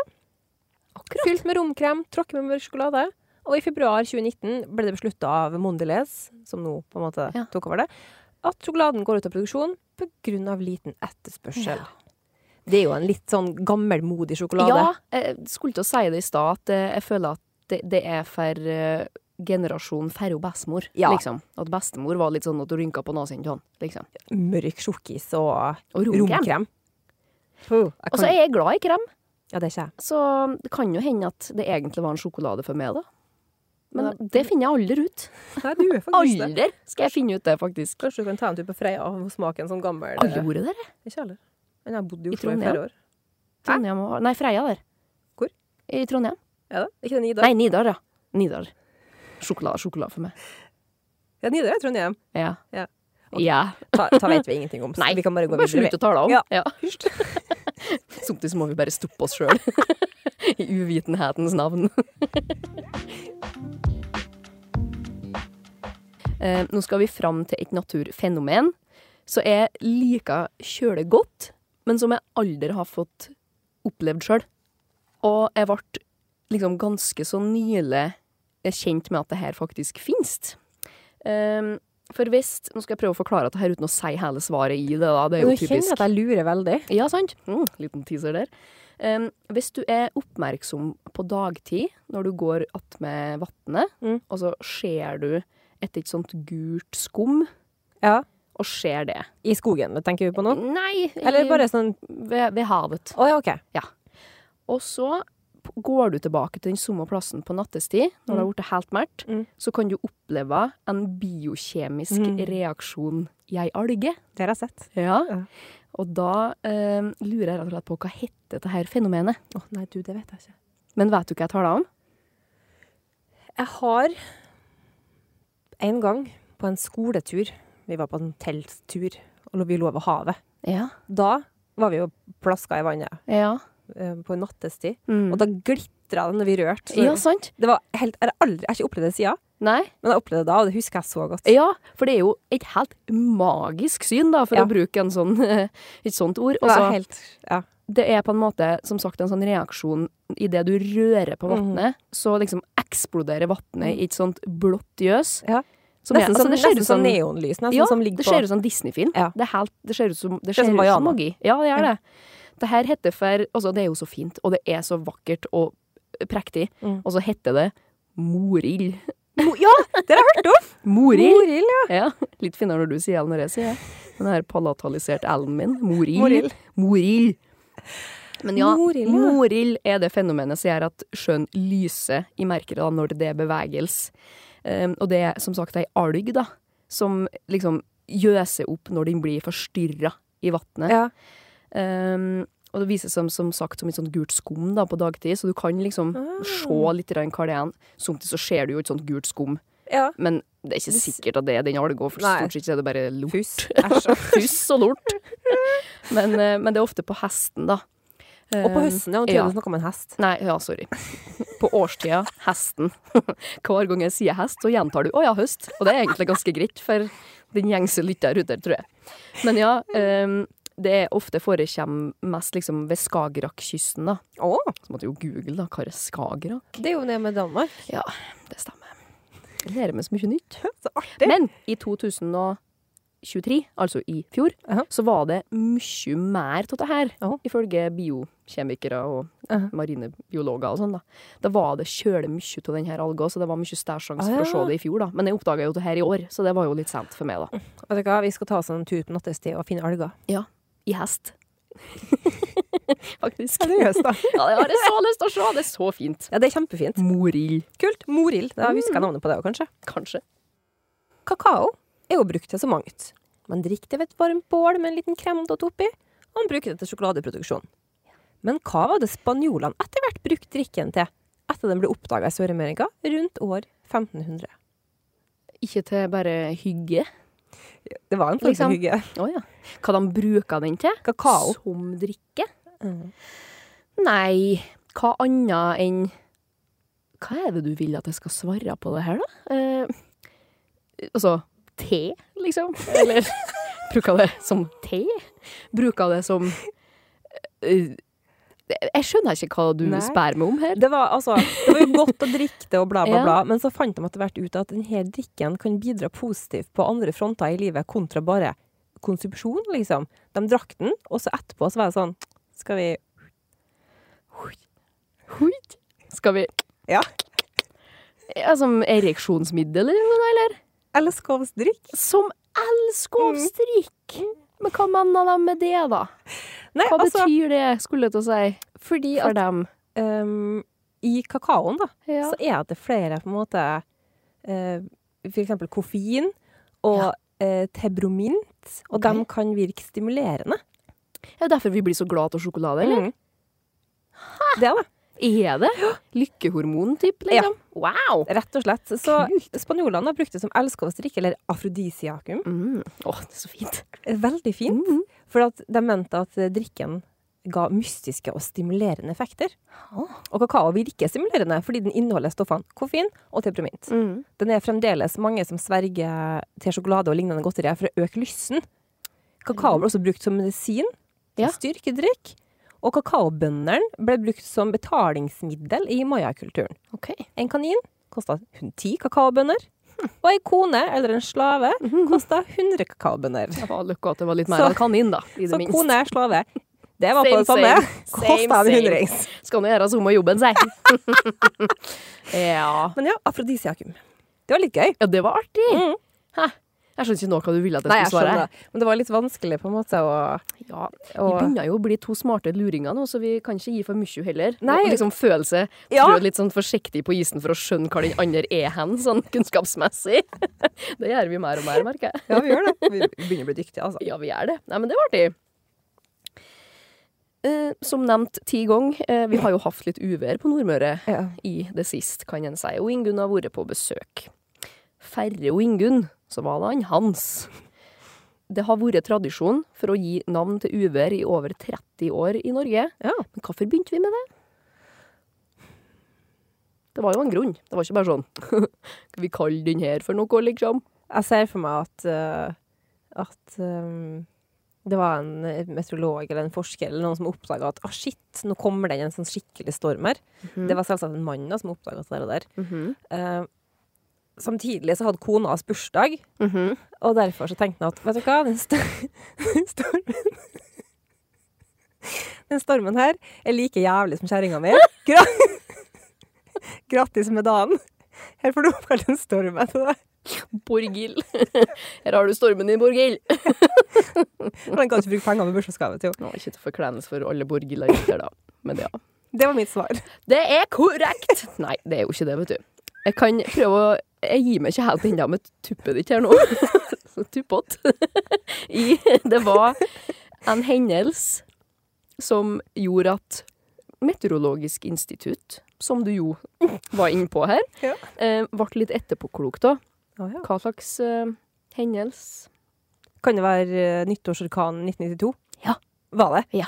[SPEAKER 2] Fylt med romkrem, tråkket med mørk sjokolade. Og i februar 2019 ble det beslutta av Mondelez, som nå på en måte
[SPEAKER 3] Ja.
[SPEAKER 2] tok over det, at sjokoladen går ut av produksjon pga. liten etterspørsel.
[SPEAKER 3] Ja.
[SPEAKER 2] Det er jo en litt sånn gammelmodig sjokolade.
[SPEAKER 3] Ja, jeg skulle til å si det i stad, at eh, jeg føler at det, det er for eh, generasjon færre og bestemor,
[SPEAKER 2] Ja.
[SPEAKER 3] liksom. At bestemor var litt sånn at hun rynka på nesen til han, liksom.
[SPEAKER 2] Mørk sjokkis og
[SPEAKER 3] Og romkrem.
[SPEAKER 2] romkrem. Puh, jeg
[SPEAKER 3] Og
[SPEAKER 2] kan-
[SPEAKER 3] så er jeg glad i krem,
[SPEAKER 2] ja, det er ikke jeg.
[SPEAKER 3] så det kan jo hende at det egentlig var en sjokolade for meg, da. Men
[SPEAKER 2] Men
[SPEAKER 3] det finner jeg aldri ut.
[SPEAKER 2] Nei, du er faktisk det.
[SPEAKER 3] Aldri skal jeg finne ut det, faktisk.
[SPEAKER 2] Kanskje du kan ta en tur på Freia og smake en sånn gammel eh,
[SPEAKER 3] Å, gjorde dere?
[SPEAKER 2] Ikke heller. Men jeg har bodd i
[SPEAKER 3] I
[SPEAKER 2] Oslo i
[SPEAKER 3] Trondheim?
[SPEAKER 2] flere år.
[SPEAKER 3] Trondheim og Nei, Freia der.
[SPEAKER 2] Hvor?
[SPEAKER 3] I Trondheim.
[SPEAKER 2] Er det? Ikke det Nidar?
[SPEAKER 3] Nei, Nidar, ja. Nidar. Sjokolade, sjokolade for meg.
[SPEAKER 2] Ja, Nidar er Trondheim.
[SPEAKER 3] Ja.
[SPEAKER 2] Ja.
[SPEAKER 3] ja.
[SPEAKER 2] Ta, ta vet vi ingenting om, så
[SPEAKER 3] Nei,
[SPEAKER 2] vi kan bare gå
[SPEAKER 3] Bare
[SPEAKER 2] videre.
[SPEAKER 3] slutt å tale om.
[SPEAKER 2] Ja.
[SPEAKER 3] Ja.
[SPEAKER 2] Hysj.
[SPEAKER 3] Samtidig må vi bare stoppe oss sjøl. I uvitenhetens navn. Eh, nå skal vi fram til et naturfenomen som jeg liker kjølig godt, men som jeg aldri har fått opplevd sjøl. Og jeg ble liksom ganske så nylig kjent med at det her faktisk finnes. Eh, for hvis Nå skal jeg prøve å forklare dette her uten å si hele svaret i det. da. Det er
[SPEAKER 2] Nå
[SPEAKER 3] jo
[SPEAKER 2] kjenner
[SPEAKER 3] typisk.
[SPEAKER 2] jeg at jeg lurer veldig.
[SPEAKER 3] Ja, sant? Mm, liten teaser der. Um, hvis du er oppmerksom på dagtid når du går attmed vannet,
[SPEAKER 2] Mm.
[SPEAKER 3] og så ser du et litt sånt gult skum,
[SPEAKER 2] Ja.
[SPEAKER 3] og ser det
[SPEAKER 2] I skogen, tenker vi på nå?
[SPEAKER 3] Nei! i-
[SPEAKER 2] Eller bare sånn
[SPEAKER 3] ved, ved havet.
[SPEAKER 2] Å ja, OK.
[SPEAKER 3] Og så p- går du tilbake til den samme plassen på nattestid, når det har blitt helt mørkt,
[SPEAKER 2] Mm.
[SPEAKER 3] så kan du oppleve en biokjemisk
[SPEAKER 2] Mm.
[SPEAKER 3] reaksjon i ei alge.
[SPEAKER 2] Det har jeg sett.
[SPEAKER 3] Ja.
[SPEAKER 2] Ja.
[SPEAKER 3] Og da eh, lurer jeg rett og slett på hva heter dette her fenomenet.
[SPEAKER 2] Å nei, du, det vet jeg ikke.
[SPEAKER 3] Men vet du hva jeg taler om?
[SPEAKER 2] Jeg har en gang på en skoletur Vi var på en telttur, og vi lå ved havet.
[SPEAKER 3] Ja.
[SPEAKER 2] Da var vi jo plaska i vannet
[SPEAKER 3] Ja,
[SPEAKER 2] eh, på nattestid,
[SPEAKER 3] mm.
[SPEAKER 2] og da glitra det når vi rørte. Så
[SPEAKER 3] ja sant?
[SPEAKER 2] Det var helt, jeg, har aldri, jeg har ikke opplevd det siden,
[SPEAKER 3] Nei?
[SPEAKER 2] men jeg opplevde det da, og det husker jeg så godt.
[SPEAKER 3] Ja, for det er jo et helt magisk syn, da, for
[SPEAKER 2] Ja.
[SPEAKER 3] å bruke en sånn, et sånt ord.
[SPEAKER 2] det var
[SPEAKER 3] Altså,
[SPEAKER 2] helt, ja.
[SPEAKER 3] det er på en måte, som sagt, en sånn reaksjon i det du rører på
[SPEAKER 2] Mhm.
[SPEAKER 3] vannet, så liksom eksploderer vannet i et sånt blått gjøs.
[SPEAKER 2] Ja.
[SPEAKER 3] Som er-
[SPEAKER 2] nesten sånn,
[SPEAKER 3] altså, det ser ut
[SPEAKER 2] nesten sånn
[SPEAKER 3] som-
[SPEAKER 2] neonlys, nesten
[SPEAKER 3] Ja,
[SPEAKER 2] som ligger
[SPEAKER 3] det
[SPEAKER 2] på
[SPEAKER 3] ser ut som en Disney-film.
[SPEAKER 2] Ja.
[SPEAKER 3] Det, er helt- det ser ut som, det
[SPEAKER 2] er
[SPEAKER 3] ser
[SPEAKER 2] som
[SPEAKER 3] ut
[SPEAKER 2] Vaiana.
[SPEAKER 3] som magi. Ja, det er
[SPEAKER 2] Ja.
[SPEAKER 3] det. Det her heter for Altså, det er jo så fint, og det er så vakkert og prektig,
[SPEAKER 2] Mm.
[SPEAKER 3] og så heter det morild.
[SPEAKER 2] Mo- Ja, det har jeg hørt om!
[SPEAKER 3] Morild?
[SPEAKER 2] Morild, ja.
[SPEAKER 3] Ja, litt finere når du sier det enn når jeg sier det. Den her palataliserte L-en min. Morild.
[SPEAKER 2] Morild.
[SPEAKER 3] Morild. Men ja,
[SPEAKER 2] Morild,
[SPEAKER 3] morild,
[SPEAKER 2] ja.
[SPEAKER 3] er det fenomenet som gjør at sjøen lyser i merket da, når det er bevegelse. Um, og det er som sagt ei alg da, som liksom gjøser opp når den blir forstyrra i vannet.
[SPEAKER 2] ja.
[SPEAKER 3] Um, og det vises som, som sagt som et sånt gult skum da, på dagtid, så du kan liksom
[SPEAKER 2] Ah.
[SPEAKER 3] se litt grann hva det er. Samtidig så ser du jo et sånt gult skum.
[SPEAKER 2] ja.
[SPEAKER 3] Men det er ikke sikkert at det er den alga, for
[SPEAKER 2] Nei.
[SPEAKER 3] stort sett er det bare lort.
[SPEAKER 2] Pust. Æsj.
[SPEAKER 3] Puss og lort. Men, eh, men det er ofte på hesten, da.
[SPEAKER 2] Og på høsten, ja. Nå
[SPEAKER 3] Eh, ja.
[SPEAKER 2] trodde du snakket om en hest.
[SPEAKER 3] Nei, ja, sorry. På årstida, hesten. Hver gang jeg sier hest, så gjentar du 'å ja, høst'. Og det er egentlig ganske greit for den gjengse lytter ute, tror jeg. Men ja, eh, det er ofte forekommer mest liksom ved Skagerrakkysten, da.
[SPEAKER 2] Å,
[SPEAKER 3] Så måtte jeg jo google, da. Hva er Skagerrak?
[SPEAKER 2] det er jo nede med Danmark.
[SPEAKER 3] Ja, det stemmer. Jeg lærer meg så mye nytt.
[SPEAKER 2] Så artig.
[SPEAKER 3] Men i 2023, altså i fjor,
[SPEAKER 2] Aha.
[SPEAKER 3] så var det mye mer av det her,
[SPEAKER 2] Ja.
[SPEAKER 3] ifølge biokjemikere og
[SPEAKER 2] Aha.
[SPEAKER 3] marine biologer og sånn. Da Da var det kjølig mye av den her alga, så det var mye større sjanse
[SPEAKER 2] Ah,
[SPEAKER 3] for å se
[SPEAKER 2] ja.
[SPEAKER 3] det i fjor. da Men jeg oppdaga jo det her i år, så det var jo litt sent for meg, da.
[SPEAKER 2] Vet du hva, vi skal ta oss en tur på nattestid og finne alger.
[SPEAKER 3] I hest. Faktisk.
[SPEAKER 2] Seriøst, da.
[SPEAKER 3] Ja, det har jeg så lyst til å se! Det er så fint.
[SPEAKER 2] Ja, det er kjempefint.
[SPEAKER 3] Morild,
[SPEAKER 2] Kult. Morild. Da
[SPEAKER 3] Mm.
[SPEAKER 2] husker jeg navnet på det òg, kanskje.
[SPEAKER 3] kanskje.
[SPEAKER 2] Kakao er jo brukt til så mangt. Man drikker det ved et varmt bål med en liten kremdott oppi, og man bruker det til sjokoladeproduksjon. Men hva var det spanjolene etter hvert brukte drikken til, etter den ble oppdaga i Sør-Amerika rundt år 1500?
[SPEAKER 3] Ikke til bare hygge.
[SPEAKER 2] Det var en form
[SPEAKER 3] Liksom.
[SPEAKER 2] for hygge.
[SPEAKER 3] Å ja. Hva de bruker den til?
[SPEAKER 2] Kakao.
[SPEAKER 3] Som drikke?
[SPEAKER 2] Mm.
[SPEAKER 3] Nei, hva annet enn Hva er det du vil at jeg skal svare på det her, da? Eh, altså te, liksom? Eller bruker det som te? Bruker det som eh, Jeg skjønner ikke hva du
[SPEAKER 2] Nei.
[SPEAKER 3] spør meg om her.
[SPEAKER 2] Det var, altså, det var jo godt å drikke det og bla, bla,
[SPEAKER 3] Ja.
[SPEAKER 2] bla, men så fant de etter hvert ut at denne drikken kan bidra positivt på andre fronter i livet, kontra bare konsumsjon, liksom. De drakk den, og så etterpå så var det sånn Skal vi
[SPEAKER 3] Hoit. Skal vi
[SPEAKER 2] Ja.
[SPEAKER 3] Ja, Som ereksjonsmiddel, eller noe?
[SPEAKER 2] Eller skal vi drikke?
[SPEAKER 3] Som
[SPEAKER 2] Mm.
[SPEAKER 3] elskovsdrikk! Men hva mener de med det, da?
[SPEAKER 2] Nei,
[SPEAKER 3] Hva
[SPEAKER 2] altså
[SPEAKER 3] betyr det, skulle jeg til å si,
[SPEAKER 2] Fordi
[SPEAKER 3] for
[SPEAKER 2] at
[SPEAKER 3] dem?
[SPEAKER 2] ehm, i kakaoen, da,
[SPEAKER 3] Ja.
[SPEAKER 2] så er det flere på en måte eh, For eksempel koffein og eh, tebromint, og
[SPEAKER 3] Ok.
[SPEAKER 2] de kan virke stimulerende.
[SPEAKER 3] Det er derfor vi blir så glad av sjokolade, eller?
[SPEAKER 2] Mm. Det er det.
[SPEAKER 3] Er det? Lykkehormon, typ, liksom? Wow!
[SPEAKER 2] Rett og slett. Så spanjolene har brukt det som elskovsdrikk, eller afrodisiakum.
[SPEAKER 3] Mm. Åh, det er så fint.
[SPEAKER 2] Veldig fint.
[SPEAKER 3] Mhm.
[SPEAKER 2] For at de mente at eh, drikken ga mystiske og stimulerende effekter.
[SPEAKER 3] Ah.
[SPEAKER 2] Og kakao virker stimulerende fordi den inneholder stoffene koffein og tebromint. Den er fremdeles mange som sverger til sjokolade og lignende godterier for å øke lysten. Kakao ble også brukt som medisin,
[SPEAKER 3] Ja.
[SPEAKER 2] som styrkedrikk, og kakaobøndene ble brukt som betalingsmiddel i mayakulturen.
[SPEAKER 3] Ok.
[SPEAKER 2] En kanin kosta ti kakaobønner, og ei kone eller en slave kosta 100 kakaobønner.
[SPEAKER 3] Det var lykke at det var litt mer
[SPEAKER 2] Så-
[SPEAKER 3] av kanin, da, i det
[SPEAKER 2] Så
[SPEAKER 3] minste.
[SPEAKER 2] kone, slave, det var på
[SPEAKER 3] Same,
[SPEAKER 2] det samme.
[SPEAKER 3] same. Same,
[SPEAKER 2] Kosta en
[SPEAKER 3] same.
[SPEAKER 2] hundrings.
[SPEAKER 3] Skal nå gjøre som av jobben, si. ja.
[SPEAKER 2] Men ja, afrodisiakum. Det var litt gøy.
[SPEAKER 3] ja, det var artig.
[SPEAKER 2] Mm.
[SPEAKER 3] Hæ? Jeg skjønner ikke nå hva du ville at
[SPEAKER 2] Nei,
[SPEAKER 3] jeg
[SPEAKER 2] jeg
[SPEAKER 3] skulle svare.
[SPEAKER 2] skjønner det. Men det var litt vanskelig på en måte å,
[SPEAKER 3] Ja,
[SPEAKER 2] å
[SPEAKER 3] Vi begynner jo å bli to smarte luringer nå, så vi kan ikke gi for mye heller.
[SPEAKER 2] Nei.
[SPEAKER 3] Og liksom føle seg
[SPEAKER 2] Ja.
[SPEAKER 3] trå litt sånn forsiktig på isen for å skjønne hva den andre er hen, sånn kunnskapsmessig. Det gjør vi mer og mer, merker jeg.
[SPEAKER 2] Ja, vi gjør det. Vi begynner å bli dyktige, altså.
[SPEAKER 3] Ja, vi gjør det. Nei, men det var artig. Eh, som nevnt ti ganger, eh, vi har jo hatt litt uvær på Nordmøre
[SPEAKER 2] Ja.
[SPEAKER 3] i det sist, kan en si. Og Ingunn har vært på besøk. Færre og Ingunn, så var det han Hans. Det har vært tradisjon for å gi navn til uvær i over 30 år i Norge.
[SPEAKER 2] Ja.
[SPEAKER 3] Men hvorfor begynte vi med det? Det var jo en grunn. Det var ikke bare sånn Skal vi kalle den her for noe, liksom?
[SPEAKER 2] Jeg ser for meg at, eh, at eh, det var en meteorolog eller en forsker eller noen som oppdaga at ah, shit, nå kommer det en sånn skikkelig storm her. Det var selvsagt en mann da, som oppdaga det der og der. Eh, samtidig så hadde kona hans bursdag, og derfor så tenkte han at vet du hva, den, sto den stormen Den stormen her er like jævlig som kjerringa mi. Gra Grattis med dagen. Her får du oppkalt en storm etter deg.
[SPEAKER 3] Borghild. Her har du stormen din, Borghild.
[SPEAKER 2] Hvordan kan du ikke bruke penger med bursdagsgave til henne?
[SPEAKER 3] Nå, ikke til forkleinelse for alle Borghild der, da. Men ja.
[SPEAKER 2] Det var mitt svar.
[SPEAKER 3] Det er korrekt! Nei, det er jo ikke det, vet du. Jeg kan prøve å Jeg gir meg ikke helt ennå med tuppet ditt her nå. Så Tuppåt. I Det var en hendelse som gjorde at Meteorologisk institutt, som du jo var inne på her,
[SPEAKER 2] Ja.
[SPEAKER 3] eh, ble litt etterpåklok da.
[SPEAKER 2] Ka-
[SPEAKER 3] Hva slags eh, hendelse
[SPEAKER 2] Kan det være eh, nyttårsorkanen 1992?
[SPEAKER 3] Ja.
[SPEAKER 2] Var det?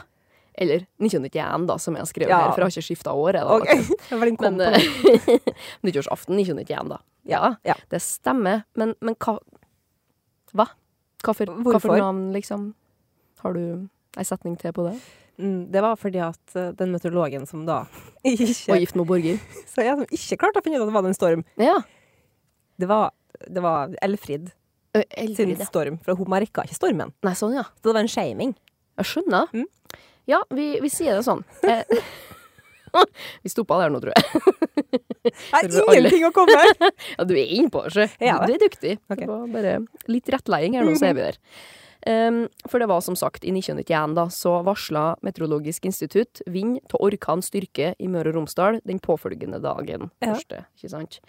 [SPEAKER 3] Eller 1991, da, som jeg har skrevet
[SPEAKER 2] Ja.
[SPEAKER 3] her, for jeg har ikke skifta år. jeg da,
[SPEAKER 2] Ok. Det var den kom på.
[SPEAKER 3] Men eh, nyttårsaften 1991, da. Ja,
[SPEAKER 2] ja.
[SPEAKER 3] det stemmer. Men, men hva Hva? Hva for, hva
[SPEAKER 2] Hvorfor?
[SPEAKER 3] for navn, liksom? Har du ei setning til på det?
[SPEAKER 2] Mm, Det var fordi at eh, den meteorologen som da
[SPEAKER 3] Var
[SPEAKER 2] ikke,
[SPEAKER 3] gift med Borghild?
[SPEAKER 2] så jeg, som ikke klarte å finne ut at det var en storm,
[SPEAKER 3] Ja.
[SPEAKER 2] det var, det var Elfrid
[SPEAKER 3] Ø,
[SPEAKER 2] sin
[SPEAKER 3] Elfrid, ja.
[SPEAKER 2] storm. For hun merka ikke stormen.
[SPEAKER 3] Nei, sånn, ja.
[SPEAKER 2] Så det var en shaming.
[SPEAKER 3] Jeg skjønner.
[SPEAKER 2] Mm.
[SPEAKER 3] Ja, vi, vi sier det sånn. Eh, vi stoppa der nå, tror jeg.
[SPEAKER 2] Nei,
[SPEAKER 3] Det var alle.
[SPEAKER 2] ingenting å komme med!
[SPEAKER 3] Ja, du er innpå, sjø.
[SPEAKER 2] Ja,
[SPEAKER 3] Du er duktig.
[SPEAKER 2] Ok.
[SPEAKER 3] Det var bare litt rettleiing her nå, så er vi der. Ehm, for det var som sagt, i 1991 da, så varsla Meteorologisk institutt vind av orkan styrke i Møre og Romsdal den påfølgende dagen.
[SPEAKER 2] Ja.
[SPEAKER 3] Første, ikke sant?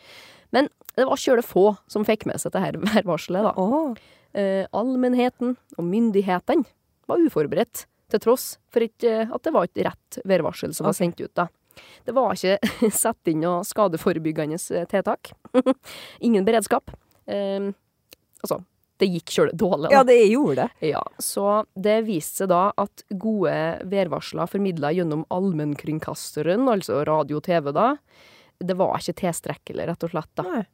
[SPEAKER 3] Men det var kjøle få som fikk med seg dette værvarselet. da.
[SPEAKER 2] Åh.
[SPEAKER 3] Eh, allmennheten og myndighetene var uforberedt, til tross for ikke, eh, at det var et rett værvarsel som var
[SPEAKER 2] Ok.
[SPEAKER 3] sendt ut. da. Det var ikke satt inn noe skadeforebyggende eh, tiltak. Ingen beredskap. Eh, altså, det gikk sjøl dårlig.
[SPEAKER 2] Ja,
[SPEAKER 3] Da.
[SPEAKER 2] det gjorde det.
[SPEAKER 3] Ja, så det viste seg da at gode værvarsler formidla gjennom allmennkringkasteren, altså radio og TV, da, det var ikke tilstrekkelig, rett og slett, da,
[SPEAKER 2] Nei.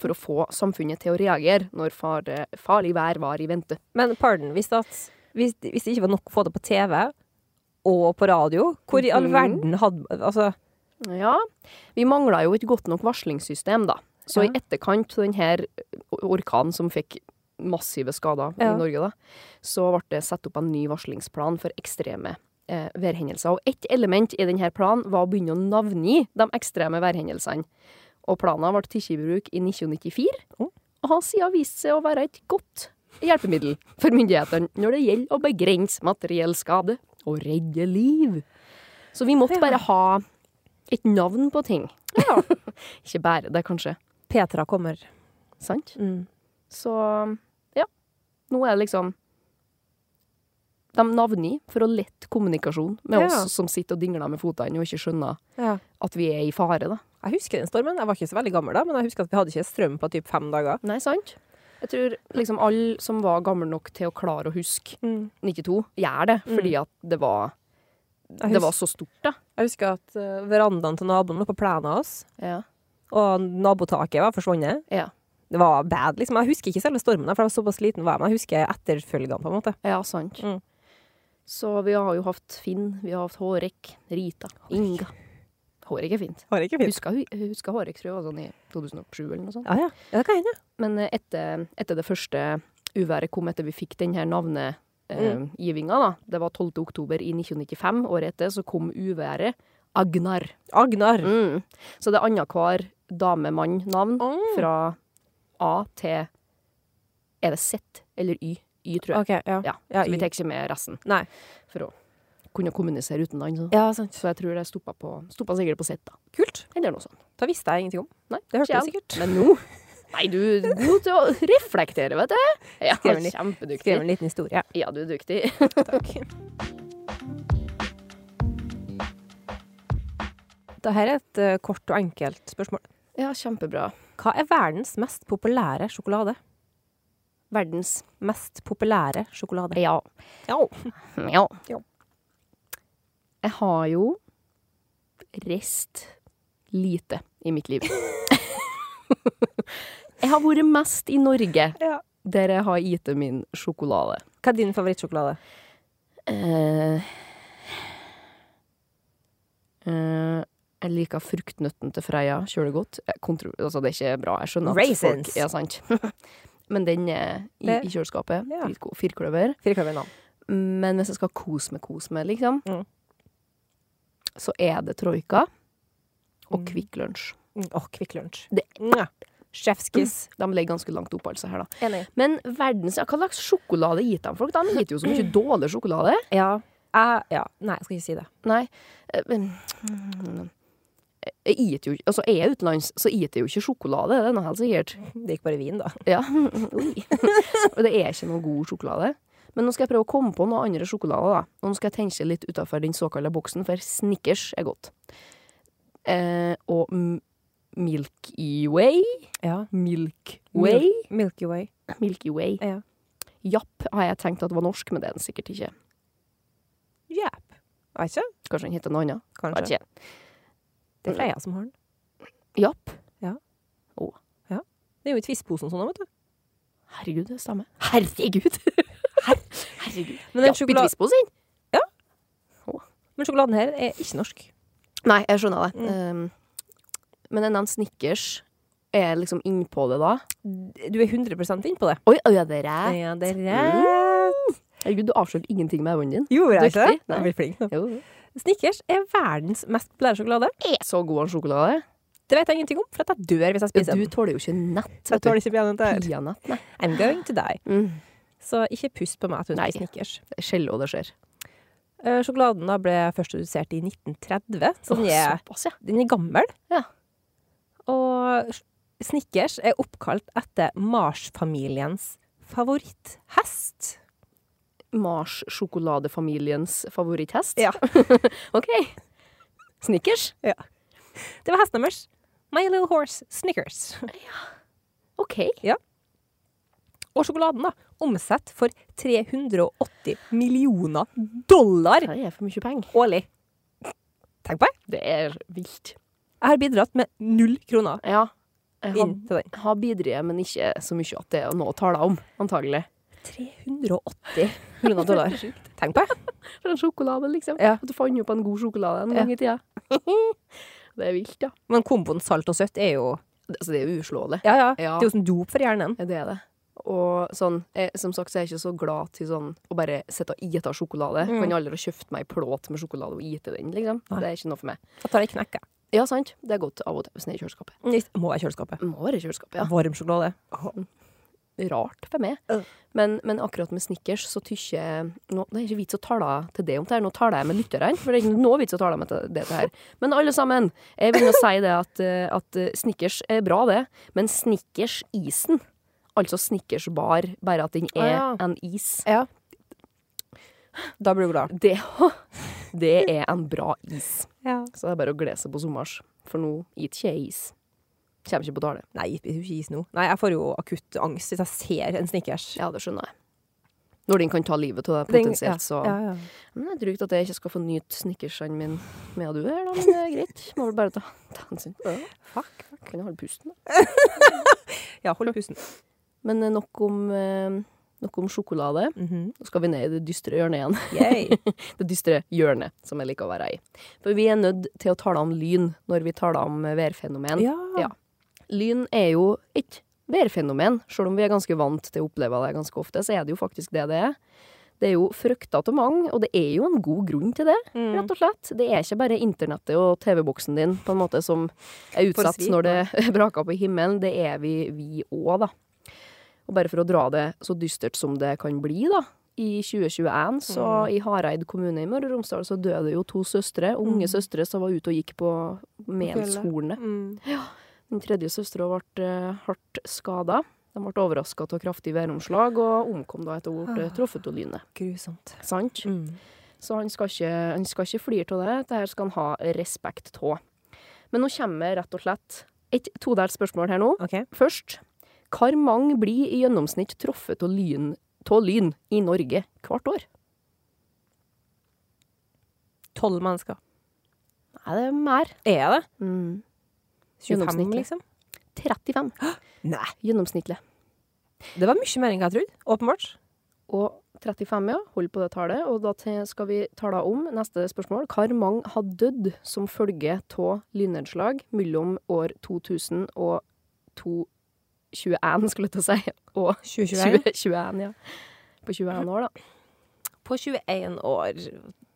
[SPEAKER 3] for å få samfunnet til å reagere når fare, farlig vær var i vente.
[SPEAKER 2] Men pardon, hvis, det at, hvis, hvis det ikke var nok å få det på TV og på radio, hvor i all
[SPEAKER 3] Mhm.
[SPEAKER 2] verden hadde Altså,
[SPEAKER 3] Ja, vi mangla jo et godt nok varslingssystem, da. Så
[SPEAKER 2] Ja.
[SPEAKER 3] i etterkant av denne orkanen som fikk massive skader
[SPEAKER 2] Ja.
[SPEAKER 3] i Norge, da, så ble det satt opp en ny varslingsplan for ekstreme eh, værhendelser. Og ett element i denne planen var å begynne å navngi de ekstreme værhendelsene. Og planen ble tatt i bruk i 1994,
[SPEAKER 2] Oh.
[SPEAKER 3] og har siden vist seg å være et godt hjelpemiddel for myndighetene når det gjelder å begrense materiell skade og redde liv. Så vi måtte
[SPEAKER 2] Ja.
[SPEAKER 3] bare ha et navn på ting. Ikke bare det, kanskje.
[SPEAKER 2] Petra kommer.
[SPEAKER 3] Sant?
[SPEAKER 2] Mm.
[SPEAKER 3] Så ja. Nå er det liksom De navngir for å lette kommunikasjon med
[SPEAKER 2] Ja.
[SPEAKER 3] oss som sitter og dingler med føttene og ikke skjønner
[SPEAKER 2] Ja.
[SPEAKER 3] at vi er i fare, da.
[SPEAKER 2] Jeg husker den stormen. Jeg var ikke så veldig gammel da, men jeg husker at vi hadde ikke strøm på typ fem dager.
[SPEAKER 3] Nei, sant? Jeg tror liksom alle som var gamle nok til å klare å huske
[SPEAKER 2] Mm.
[SPEAKER 3] 92, gjør det fordi at det var,
[SPEAKER 2] Jeg,
[SPEAKER 3] det var
[SPEAKER 2] husker,
[SPEAKER 3] så stort, da.
[SPEAKER 2] jeg husker at eh, verandaen til naboen lå på plenen av oss,
[SPEAKER 3] Ja.
[SPEAKER 2] og nabotaket var forsvunnet.
[SPEAKER 3] Ja.
[SPEAKER 2] Det var bad, liksom. Jeg husker ikke selve stormen, da, for jeg var såpass liten var jeg, men jeg husker etterfølgene, på en måte.
[SPEAKER 3] Ja, sant.
[SPEAKER 2] Mm.
[SPEAKER 3] Så vi har jo hatt Finn, vi har hatt Hårek, Rita, Inga. Hårek er fint.
[SPEAKER 2] Var det ikke fint?
[SPEAKER 3] Husker, hu- husker Hårek, tror jeg, var sånn i 2007 eller noe sånt.
[SPEAKER 2] Ja, ja. ja det kan hende.
[SPEAKER 3] Men eh, etter, etter det første uværet kom, etter vi fikk den her navnegivinga, da, det var 12. oktober i 1995, året etter, så kom uværet Agnar.
[SPEAKER 2] Agnar.
[SPEAKER 3] Mm. Så det er annenhver dame-mann-navn
[SPEAKER 2] Mm.
[SPEAKER 3] fra A til er det Z eller Y. Y, tror jeg.
[SPEAKER 2] OK, ja.
[SPEAKER 3] Ja,
[SPEAKER 2] Ja,
[SPEAKER 3] så
[SPEAKER 2] Y.
[SPEAKER 3] vi tar ikke med resten
[SPEAKER 2] Nei.
[SPEAKER 3] for å kunne kommunisere uten den. Så,
[SPEAKER 2] Ja, sant.
[SPEAKER 3] så jeg tror det stoppa på Stoppa sikkert på Z, da.
[SPEAKER 2] Kult.
[SPEAKER 3] Eller noe sånt.
[SPEAKER 2] Da visste jeg ingenting om.
[SPEAKER 3] Nei,
[SPEAKER 2] Det hørte
[SPEAKER 3] ikke
[SPEAKER 2] du
[SPEAKER 3] jeg.
[SPEAKER 2] sikkert.
[SPEAKER 3] Men nå Nei, du er god til å reflektere, vet du. Ja,
[SPEAKER 2] Skrev en litt- Skrev
[SPEAKER 3] kjempeduktig.
[SPEAKER 2] en liten historie.
[SPEAKER 3] Ja, du er duktig.
[SPEAKER 2] Takk. Dette er et eh, kort og enkelt spørsmål.
[SPEAKER 3] Ja, kjempebra.
[SPEAKER 2] Hva er verdens mest populære sjokolade?
[SPEAKER 3] Verdens
[SPEAKER 2] Mest populære sjokolade.
[SPEAKER 3] Ja.
[SPEAKER 2] Ja.
[SPEAKER 3] Ja.
[SPEAKER 2] Ja.
[SPEAKER 3] Jeg har jo rest lite i mitt liv. jeg har vært mest i Norge,
[SPEAKER 2] Ja.
[SPEAKER 3] der jeg har gitt min sjokolade.
[SPEAKER 2] Hva er din favorittsjokolade?
[SPEAKER 3] Eh, eh, jeg liker fruktnøtten til Freia kjølig godt. Jeg kontro- altså, det er ikke bra, jeg skjønner at
[SPEAKER 2] Raisins.
[SPEAKER 3] folk Ja, sant. Men den er i,
[SPEAKER 2] Det-
[SPEAKER 3] i kjøleskapet.
[SPEAKER 2] Ja.
[SPEAKER 3] Dritgod. Firkløver.
[SPEAKER 2] Firkløver navn.
[SPEAKER 3] Men hvis jeg skal kose meg, kose meg, liksom,
[SPEAKER 2] Mm.
[SPEAKER 3] så er det Troika og
[SPEAKER 2] Mm.
[SPEAKER 3] Kvikk Lunsj.
[SPEAKER 2] Åh, Kvikk Lunsj.
[SPEAKER 3] Det-
[SPEAKER 2] Mwah. Chefskiss.
[SPEAKER 3] De ligger ganske langt oppe, altså, her, da.
[SPEAKER 2] Mm. Enig.
[SPEAKER 3] Men verdens ja, Hva slags sjokolade gir de folk? De gir jo så mye dårlig sjokolade.
[SPEAKER 2] Ja. Jeg, ja. Nei, jeg skal ikke si det.
[SPEAKER 3] Nei. eh, men- mm, Jeg gir jo Altså, er jeg utenlands, så gir jeg jo ikke sjokolade. Det er noe helt sikkert.
[SPEAKER 2] Det gikk bare vin, da.
[SPEAKER 3] Ja. Oi. Og det er ikke noe god sjokolade. Men nå skal jeg prøve å komme på noe andre sjokolade. da. Og nå skal jeg tenke litt utenfor den såkalte boksen, for Snickers er godt. Eh, og M- Milky Way
[SPEAKER 2] Ja.
[SPEAKER 3] Milk Way?
[SPEAKER 2] Milky Way.
[SPEAKER 3] Milky Way.
[SPEAKER 2] Ja.
[SPEAKER 3] Japp har jeg tenkt at det var norsk, men det er den sikkert ikke.
[SPEAKER 2] Jep. Vet ikke.
[SPEAKER 3] Kanskje den heter noe annet.
[SPEAKER 2] Kanskje.
[SPEAKER 3] Vet ikke.
[SPEAKER 2] Det er Freia som har den.
[SPEAKER 3] Japp.
[SPEAKER 2] Det er jo i Twist-posen og sånn, vet du.
[SPEAKER 3] Herregud, det stemmer. Herregud! Herregud.
[SPEAKER 2] Men, den
[SPEAKER 3] Japp i
[SPEAKER 2] sjokolade-
[SPEAKER 3] Twizzposen.
[SPEAKER 2] Men sjokoladen her er ikke norsk.
[SPEAKER 3] Nei, jeg skjønner det. Um, men jeg nevnte Snickers. Er jeg liksom innpå det da?
[SPEAKER 2] Du er 100 inn på det.
[SPEAKER 3] Oi, øy, det er jeg.
[SPEAKER 2] Ja, det er rett.
[SPEAKER 3] Herregud, du avslørte ingenting med øynene dine.
[SPEAKER 2] Gjorde jeg ikke det?
[SPEAKER 3] Dyktig. Nei.
[SPEAKER 2] Jeg blir flink nå.
[SPEAKER 3] Jo, jo.
[SPEAKER 2] Snickers er verdens mest populære sjokolade.
[SPEAKER 3] Er så god av sjokolade.
[SPEAKER 2] Det vet jeg ingenting om, for at jeg dør hvis jeg
[SPEAKER 3] Ja,
[SPEAKER 2] spiser
[SPEAKER 3] du
[SPEAKER 2] den.
[SPEAKER 3] tåler jo ikke nett.
[SPEAKER 2] Jeg tåler ikke peanøtter her.
[SPEAKER 3] Pianett, nei.
[SPEAKER 2] I'm going to die.
[SPEAKER 3] Mm.
[SPEAKER 2] Så ikke pust på meg at hun
[SPEAKER 3] Nei.
[SPEAKER 2] spiser Snickers.
[SPEAKER 3] Det er sjelden det skjer.
[SPEAKER 2] Eh, Sjokoladen da ble først redusert i 1930, så den
[SPEAKER 3] Åh,
[SPEAKER 2] er,
[SPEAKER 3] Såpass, ja.
[SPEAKER 2] den er gammel.
[SPEAKER 3] Ja.
[SPEAKER 2] Og s- Snickers er oppkalt etter Mars-familiens favoritthest.
[SPEAKER 3] Mars-sjokoladefamiliens favoritthest.
[SPEAKER 2] Ja.
[SPEAKER 3] OK. Snickers.
[SPEAKER 2] Det var hesten deres. My Little Horse Snickers.
[SPEAKER 3] OK.
[SPEAKER 2] Og sjokoladen da, omsett for 380 millioner dollar
[SPEAKER 3] Det er for mye penger.
[SPEAKER 2] årlig. Tenk på det.
[SPEAKER 3] Det er vilt.
[SPEAKER 2] Jeg har bidratt med null kroner
[SPEAKER 3] Ja. Jeg har
[SPEAKER 2] inn til den.
[SPEAKER 3] har bidratt, men ikke så mye at det er noe å tale om, antagelig.
[SPEAKER 2] 380 millioner dollar. Tenk på det.
[SPEAKER 3] For en sjokolade, liksom.
[SPEAKER 2] Ja.
[SPEAKER 3] At du fant opp en god sjokolade en gang i tida. det er vilt, ja.
[SPEAKER 2] Men komboen salt og søtt er jo
[SPEAKER 3] Det- Altså, det er jo uslåelig.
[SPEAKER 2] Ja, ja.
[SPEAKER 3] Ja.
[SPEAKER 2] Det er jo som dop for hjernen.
[SPEAKER 3] Ja, Det er det. Og sånn, jeg, som sagt så er jeg ikke så glad til sånn å bare sitte og ete sjokolade.
[SPEAKER 2] Mm.
[SPEAKER 3] Kan jeg aldri ha kjøpt meg ei plate med sjokolade og ete den, liksom.
[SPEAKER 2] Nei.
[SPEAKER 3] Det er ikke noe for meg.
[SPEAKER 2] Jeg tar ei knekk, jeg.
[SPEAKER 3] Ja, sant. Det er godt av og til hvis den er i kjøleskapet.
[SPEAKER 2] Litt- Mm. Må jeg i kjøleskapet.
[SPEAKER 3] Må være i kjøleskapet, ja.
[SPEAKER 2] Varm sjokolade.
[SPEAKER 3] Rart for meg.
[SPEAKER 2] Øh.
[SPEAKER 3] Men, men akkurat med Snickers så tykker jeg nå, Det er ikke vits å tale til det om det her, nå taler jeg med lytterne. For det er ikke noe vits å tale med det, det her. Men alle sammen, jeg vil nå si det at, eh, at eh, Snickers er bra, det. Men Snickers-isen, altså Snickers bar, bare at den er
[SPEAKER 2] Ah, ja.
[SPEAKER 3] en is,
[SPEAKER 2] Ja. Da blir du glad.
[SPEAKER 3] det, det er en bra is.
[SPEAKER 2] Ja.
[SPEAKER 3] Så det er bare å glede seg på sommers. For nå gir ikke jeg is. Kommer ikke på tale.
[SPEAKER 2] Nei, jeg spiser jo ikke is nå. Nei, jeg får jo akutt angst hvis jeg ser en Snickers.
[SPEAKER 3] Ja, det skjønner jeg. Når den kan ta livet av deg
[SPEAKER 2] Den- ja.
[SPEAKER 3] potensielt, så
[SPEAKER 2] Ja, ja.
[SPEAKER 3] Men det er drygt at jeg ikke skal få nyte snickersene mine med og du her, da. Men det er greit. Må vel bare ta, ta hensyn til det. da.
[SPEAKER 2] Fuck.
[SPEAKER 3] Kan jeg holde pusten, da.
[SPEAKER 2] Ja, hold pusten.
[SPEAKER 3] Men eh, nok om, eh, nok om sjokolade.
[SPEAKER 2] Mhm.
[SPEAKER 3] Nå skal vi ned i det dystre hjørnet igjen.
[SPEAKER 2] Yay.
[SPEAKER 3] Det dystre hjørnet som jeg liker å være i. For vi er nødt til å tale om lyn når vi taler om eh, værfenomen.
[SPEAKER 2] Ja.
[SPEAKER 3] Ja. Lyn er jo et værfenomen. Selv om vi er ganske vant til å oppleve det ganske ofte, så er det jo faktisk det det er. Det er jo frykta av mange, og det er jo en god grunn til det,
[SPEAKER 2] Mm.
[SPEAKER 3] rett og slett. Det er ikke bare internettet og TV-boksen din på en måte som er
[SPEAKER 2] For å
[SPEAKER 3] utsatt
[SPEAKER 2] svi,
[SPEAKER 3] når det braker på himmelen. Det er vi vi òg, da. Og bare for å dra det så dystert som det kan bli, da. I 2021, så
[SPEAKER 2] Mm.
[SPEAKER 3] i Hareid kommune i Møre og Romsdal, så døde jo to søstre. Unge søstre som var ute og gikk på Melshornet.
[SPEAKER 2] Mm.
[SPEAKER 3] Den tredje søstera ble eh, hardt skada. De ble overraska av kraftig væromslag og omkom da etter å ha blitt truffet av lynet.
[SPEAKER 2] Grusomt.
[SPEAKER 3] Sant?
[SPEAKER 2] Mm.
[SPEAKER 3] Så han skal ikke, han skal ikke flire av det. Dette skal han ha respekt av. Men nå kommer rett og slett et todelt spørsmål her nå.
[SPEAKER 2] OK.
[SPEAKER 3] Først, hvor mange blir i gjennomsnitt truffet av lyn, av lyn i Norge hvert år?
[SPEAKER 2] Tolv mennesker.
[SPEAKER 3] Nei, det er mer.
[SPEAKER 2] Er det?
[SPEAKER 3] Mm.
[SPEAKER 2] 25,
[SPEAKER 3] Gjennomsnittlig.
[SPEAKER 2] liksom?
[SPEAKER 3] 35
[SPEAKER 2] Nei.
[SPEAKER 3] gjennomsnittlig.
[SPEAKER 2] Det var mye mer enn jeg trodde. Åpenbart.
[SPEAKER 3] Og 35, ja. Hold på det tallet. Og da til- skal vi tale om neste spørsmål. Hvor mange har dødd som følge av lynnedslag mellom år 2000 og 2021, skulle jeg til å si, og
[SPEAKER 2] 2021.
[SPEAKER 3] 2021, ja. På 21 år, da.
[SPEAKER 2] På 21 år.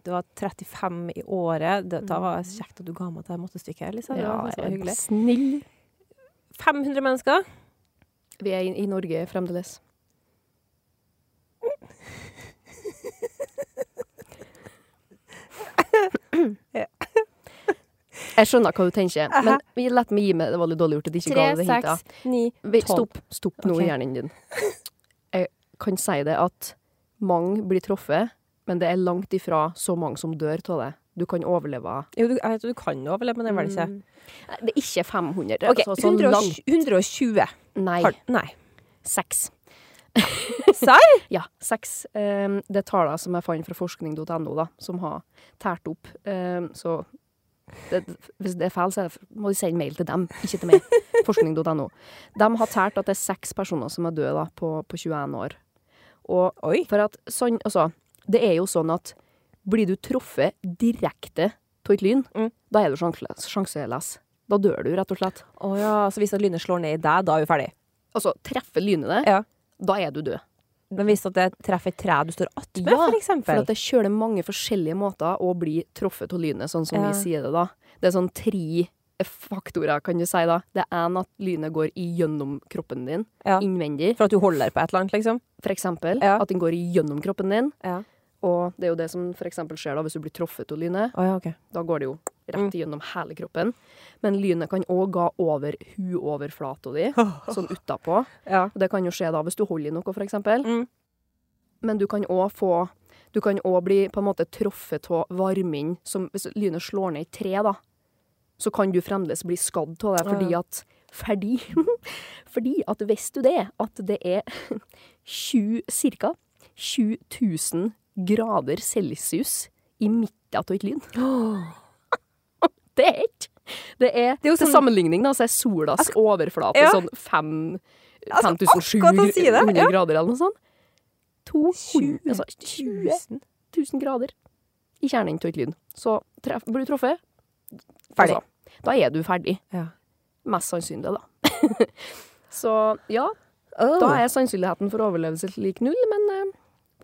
[SPEAKER 2] Det var 35 i året. Det, da var det kjekt at du ga meg det måttestykket. her, Lisa. Mm. liksom. Det var faktisk
[SPEAKER 3] jeg er
[SPEAKER 2] hyggelig.
[SPEAKER 3] Snill.
[SPEAKER 2] 500 mennesker.
[SPEAKER 3] Vi er i, i Norge fremdeles. Jeg skjønner hva du tenker, men vi- la meg gi meg Det var litt dårlig gjort at jeg
[SPEAKER 2] 3,
[SPEAKER 3] ikke ga deg det hintet.
[SPEAKER 2] 6, 9
[SPEAKER 3] Vi-
[SPEAKER 2] tolv.
[SPEAKER 3] Stopp, stopp nå
[SPEAKER 2] Ok.
[SPEAKER 3] i hjernen din. Jeg kan si det at mange blir truffet, men det er langt ifra så mange som dør av det. Du kan overleve.
[SPEAKER 2] Jo, du, jeg vet, du kan overleve, men det er vel ikke
[SPEAKER 3] Nei, Det er ikke 500.
[SPEAKER 2] Mm. OK,
[SPEAKER 3] altså, sånn
[SPEAKER 2] 120.
[SPEAKER 3] langt.
[SPEAKER 2] 120.
[SPEAKER 3] Nei,
[SPEAKER 2] Har- Nei.
[SPEAKER 3] seks.
[SPEAKER 2] Serr?
[SPEAKER 3] Ja, seks. Um, det er tallene som jeg fant fra forskning.no, da, som har tært opp. Ehm, så det, hvis det er feil, så er det, må de sende mail til dem, ikke til meg. Forskning.no. De har tært at det er seks personer som er døde da, på, på 21 år. Og
[SPEAKER 2] Oi.
[SPEAKER 3] for at sånn, altså, det er jo sånn at blir du truffet direkte av et lyn,
[SPEAKER 2] Mm.
[SPEAKER 3] da er du sjanseles. sjanseless. Da dør du, rett og slett.
[SPEAKER 2] Å ja. Så hvis at lynet slår ned i deg, da er vi ferdig.
[SPEAKER 3] Altså, treffer lynet deg,
[SPEAKER 2] Ja.
[SPEAKER 3] da er du død.
[SPEAKER 2] Men hvis at det treffer et tre du står attmed,
[SPEAKER 3] Ja,
[SPEAKER 2] for
[SPEAKER 3] For
[SPEAKER 2] eksempel.
[SPEAKER 3] at det kjøler mange forskjellige måter å bli truffet av lynet, sånn som
[SPEAKER 2] Ja.
[SPEAKER 3] vi sier det da. Det er sånn tre faktorer, kan du si da. Det er en at lynet går igjennom kroppen din,
[SPEAKER 2] Ja.
[SPEAKER 3] innvendig.
[SPEAKER 2] For at du holder på et eller annet, liksom.
[SPEAKER 3] For eksempel
[SPEAKER 2] Ja.
[SPEAKER 3] at den går igjennom kroppen din.
[SPEAKER 2] Ja.
[SPEAKER 3] Og det er jo det som for eksempel skjer da hvis du blir truffet av lynet.
[SPEAKER 2] Å ja, OK.
[SPEAKER 3] Da går det jo
[SPEAKER 2] Mm.
[SPEAKER 3] rett igjennom hele kroppen. Men lynet kan òg gå over huoverflata di, sånn utapå.
[SPEAKER 2] Ja.
[SPEAKER 3] Og det kan jo skje da hvis du holder i noe, for eksempel.
[SPEAKER 2] Mm.
[SPEAKER 3] Men du kan òg få Du kan òg bli på en måte truffet av varmen som Hvis lynet slår ned i tre, da, så kan du fremdeles bli skadd av det fordi
[SPEAKER 2] Ja.
[SPEAKER 3] at Fordi Fordi at visste du det, at det er 20, cirka 20 000 grader celsius i midten av et lyn. Det er ikke Det er,
[SPEAKER 2] er jo
[SPEAKER 3] til
[SPEAKER 2] sånn-
[SPEAKER 3] sammenligning, da, så er solas overflate
[SPEAKER 2] Ja.
[SPEAKER 3] sånn fem
[SPEAKER 2] Altså, akkurat å si det,
[SPEAKER 3] 5700
[SPEAKER 2] ja.
[SPEAKER 3] grader eller noe sånt.
[SPEAKER 2] 20
[SPEAKER 3] 200, altså, 20 000 grader i kjernen av et lyn. Så treff, blir du truffet,
[SPEAKER 2] Ferdig.
[SPEAKER 3] altså, da er du ferdig.
[SPEAKER 2] Ja.
[SPEAKER 3] Mest sannsynlig, da. så ja, da er sannsynligheten for overlevelse lik null, men eh,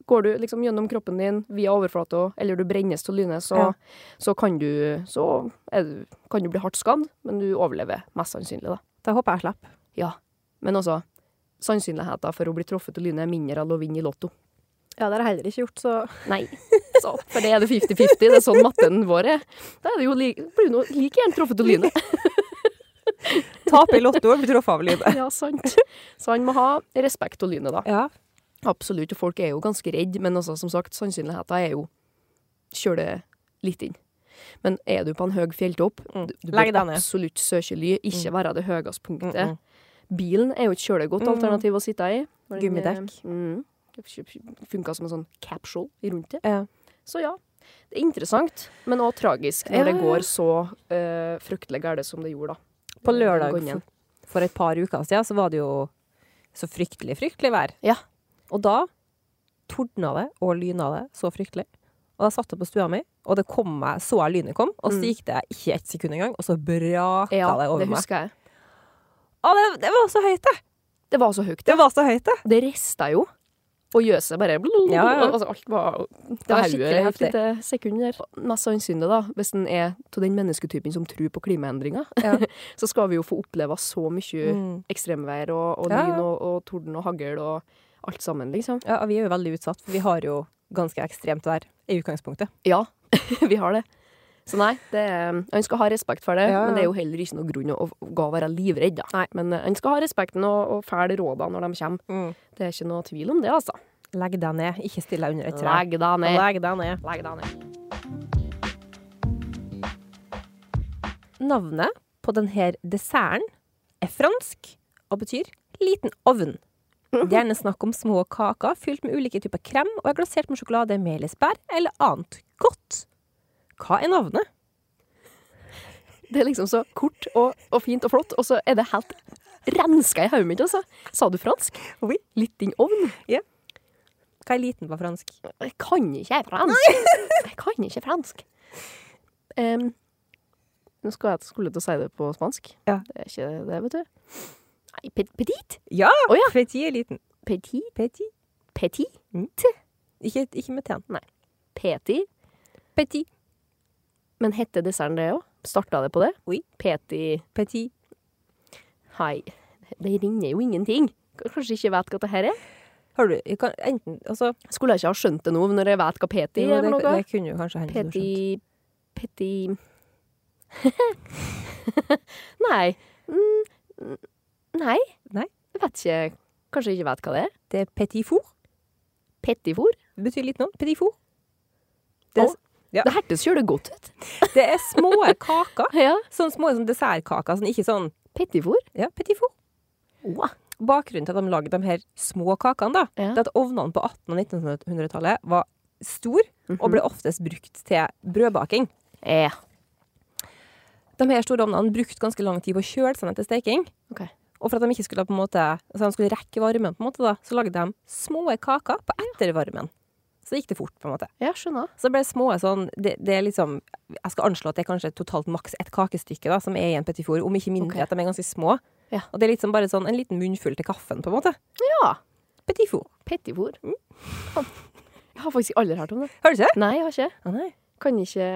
[SPEAKER 3] går du liksom gjennom kroppen din via overflata, eller du brennes til lynet, så,
[SPEAKER 2] Ja.
[SPEAKER 3] så, kan, du, så er du, kan du bli hardt skadd, men du overlever mest sannsynlig, da.
[SPEAKER 2] Da håper jeg jeg slapp.
[SPEAKER 3] Ja. Men altså, sannsynligheten for å bli truffet av lynet er mindre enn å vinne i Lotto.
[SPEAKER 2] Ja, det har jeg heller ikke gjort, så
[SPEAKER 3] Nei. Så, for det er det 50-50. Det er sånn matten vår er. Da er det jo li blir du nå like gjerne truffet av lynet.
[SPEAKER 2] Tape i Lotto og bli truffet av lynet.
[SPEAKER 3] Ja, sant. Så han må ha respekt av lynet, da.
[SPEAKER 2] Ja.
[SPEAKER 3] Absolutt. Og folk er jo ganske redde, men altså, som sagt, sannsynligheten er jo Kjør det litt inn. Men er du på en høy fjelltopp,
[SPEAKER 2] Mm.
[SPEAKER 3] du, du
[SPEAKER 2] Legg
[SPEAKER 3] bør
[SPEAKER 2] deg ned.
[SPEAKER 3] absolutt søke ly. Ikke være det høyeste
[SPEAKER 2] Mm,
[SPEAKER 3] punktet.
[SPEAKER 2] mm.
[SPEAKER 3] Bilen er jo et kjølig godt alternativ å sitte i. Når den,
[SPEAKER 2] Gummidekk.
[SPEAKER 3] eh, Mm, Funka som en sånn capsule rundt det.
[SPEAKER 2] Ja.
[SPEAKER 3] Så ja. Det er interessant, men òg tragisk når
[SPEAKER 2] Ja,
[SPEAKER 3] det
[SPEAKER 2] ja, ja.
[SPEAKER 3] går så eh, fryktelig galt som det gjorde, da.
[SPEAKER 2] På lørdag
[SPEAKER 3] Den gangen.
[SPEAKER 2] for, for et par uker siden så var det jo så fryktelig, fryktelig vær.
[SPEAKER 3] Ja.
[SPEAKER 2] Og da tordna det og lyna det så fryktelig. Og jeg satt jeg på stua mi, og det kom meg, så jeg lynet kom, og så
[SPEAKER 3] Mm.
[SPEAKER 2] gikk det ikke ett sekund engang, og så braka
[SPEAKER 3] Ja,
[SPEAKER 2] det over
[SPEAKER 3] det
[SPEAKER 2] meg.
[SPEAKER 3] husker jeg.
[SPEAKER 2] Å, det, det var så høyt, det!
[SPEAKER 3] Det var så høyt.
[SPEAKER 2] Det var så høyt, det!
[SPEAKER 3] Det rista jo. Og gjøset bare blum,
[SPEAKER 2] Ja, ja.
[SPEAKER 3] Altså, alt var
[SPEAKER 2] Det var
[SPEAKER 3] Dauer
[SPEAKER 2] skikkelig
[SPEAKER 3] et
[SPEAKER 2] heftig.
[SPEAKER 3] lite sekund der. Mest sannsynlig, da, hvis en er av den mennesketypen som tror på klimaendringer,
[SPEAKER 2] Ja.
[SPEAKER 3] så skal vi jo få oppleve så mye
[SPEAKER 2] Mm.
[SPEAKER 3] ekstremvær og, og
[SPEAKER 2] Ja, ja.
[SPEAKER 3] lyn og, og torden og hagl og alt sammen, liksom.
[SPEAKER 2] Ja, og vi er jo veldig utsatt, for vi har jo ganske ekstremt vær i utgangspunktet.
[SPEAKER 3] Ja, vi har det. Så nei, det er, um, han skal ha respekt for det,
[SPEAKER 2] Ja, ja.
[SPEAKER 3] men det er jo heller ikke noe grunn å, å gå og være livredd, da. Men eh, han skal ha respekten og, og følge rådene når de kommer. Det er ikke noe tvil om det, altså.
[SPEAKER 2] Legg deg ned, ikke still deg under et tre.
[SPEAKER 3] Legg deg ned.
[SPEAKER 2] Legg deg ned.
[SPEAKER 3] Legg deg ned.
[SPEAKER 2] Navnet på denne desserten er fransk og betyr liten ovn. Det er gjerne snakk om små kaker fylt med ulike typer krem og er glasert med sjokolade, melisbær eller annet godt. Hva er navnet?
[SPEAKER 3] Det er liksom så kort og, og fint og flott, og så er det helt renska i hodet mitt, altså. Sa du fransk?
[SPEAKER 2] Oui.
[SPEAKER 3] Litt din ovn?
[SPEAKER 2] Hva er liten på fransk?
[SPEAKER 3] Jeg kan ikke fransk. Jeg kan ikke fransk. Em, nå skulle jeg skulle til å si det på spansk.
[SPEAKER 2] Ja.
[SPEAKER 3] Det er ikke det, vet du. Nei, pe- petit?
[SPEAKER 2] Ja!
[SPEAKER 3] Å ja.
[SPEAKER 2] Petit er liten.
[SPEAKER 3] Petit?
[SPEAKER 2] Petit.
[SPEAKER 3] Petit?
[SPEAKER 2] Ikke, ikke med t-en.
[SPEAKER 3] Petit?
[SPEAKER 2] Petit.
[SPEAKER 3] Men hette desserten det òg? Starta det på det?
[SPEAKER 2] Oui.
[SPEAKER 3] Petit
[SPEAKER 2] Petit.
[SPEAKER 3] Hei. Det ringer jo ingenting. K- Kanskje ikke vet hva det her er?
[SPEAKER 2] Har du jeg kan, Enten Altså
[SPEAKER 3] Skulle jeg ikke ha skjønt det nå, når jeg vet hva petit
[SPEAKER 2] jo,
[SPEAKER 3] er?
[SPEAKER 2] det,
[SPEAKER 3] for noe?
[SPEAKER 2] det kunne jo kanskje hende. du skjønte.
[SPEAKER 3] Petty Petty Nei. Mm, mm, nei.
[SPEAKER 2] Nei.
[SPEAKER 3] Jeg vet ikke. Kanskje jeg ikke vet hva det er.
[SPEAKER 2] Det er petit four.
[SPEAKER 3] Pettifor?
[SPEAKER 2] Det betyr liten ovn. Petit four. Det, er- Ja.
[SPEAKER 3] Det hertes kjølig godt ut.
[SPEAKER 2] det er små kaker.
[SPEAKER 3] Ja.
[SPEAKER 2] Sånn små som dessertkaker. Sånn, ikke sånn
[SPEAKER 3] Pettifor?
[SPEAKER 2] Ja, petit four.
[SPEAKER 3] Wow.
[SPEAKER 2] Bakgrunnen til at de lagde de her små kakene, da,
[SPEAKER 3] Ja.
[SPEAKER 2] det er at ovnene på 1800- og 1900-tallet var store og
[SPEAKER 3] Mhm.
[SPEAKER 2] ble oftest brukt til brødbaking.
[SPEAKER 3] Ja.
[SPEAKER 2] De her store ovnene brukte ganske lang tid på å kjøle seg ned til steking.
[SPEAKER 3] Ok.
[SPEAKER 2] Og for at de ikke skulle, på en måte, altså de skulle rekke varmen, på en måte, da, så lagde de små kaker på ettervarmen. Så gikk det fort, på en måte.
[SPEAKER 3] ja, skjønner.
[SPEAKER 2] Så det ble små sånn det, det er liksom Jeg skal anslå at det er kanskje totalt maks ett kakestykke da, som er i en petit four, om ikke mindre.
[SPEAKER 3] Ok.
[SPEAKER 2] At de er ganske små.
[SPEAKER 3] Ja.
[SPEAKER 2] Og det er liksom bare sånn en liten munnfull til kaffen, på en måte.
[SPEAKER 3] Ja.
[SPEAKER 2] Petit four.
[SPEAKER 3] Pettifor. Jeg har faktisk aldri hørt om det.
[SPEAKER 2] Har du ikke det?
[SPEAKER 3] Nei, jeg har ikke.
[SPEAKER 2] Å, nei.
[SPEAKER 3] Kan ikke,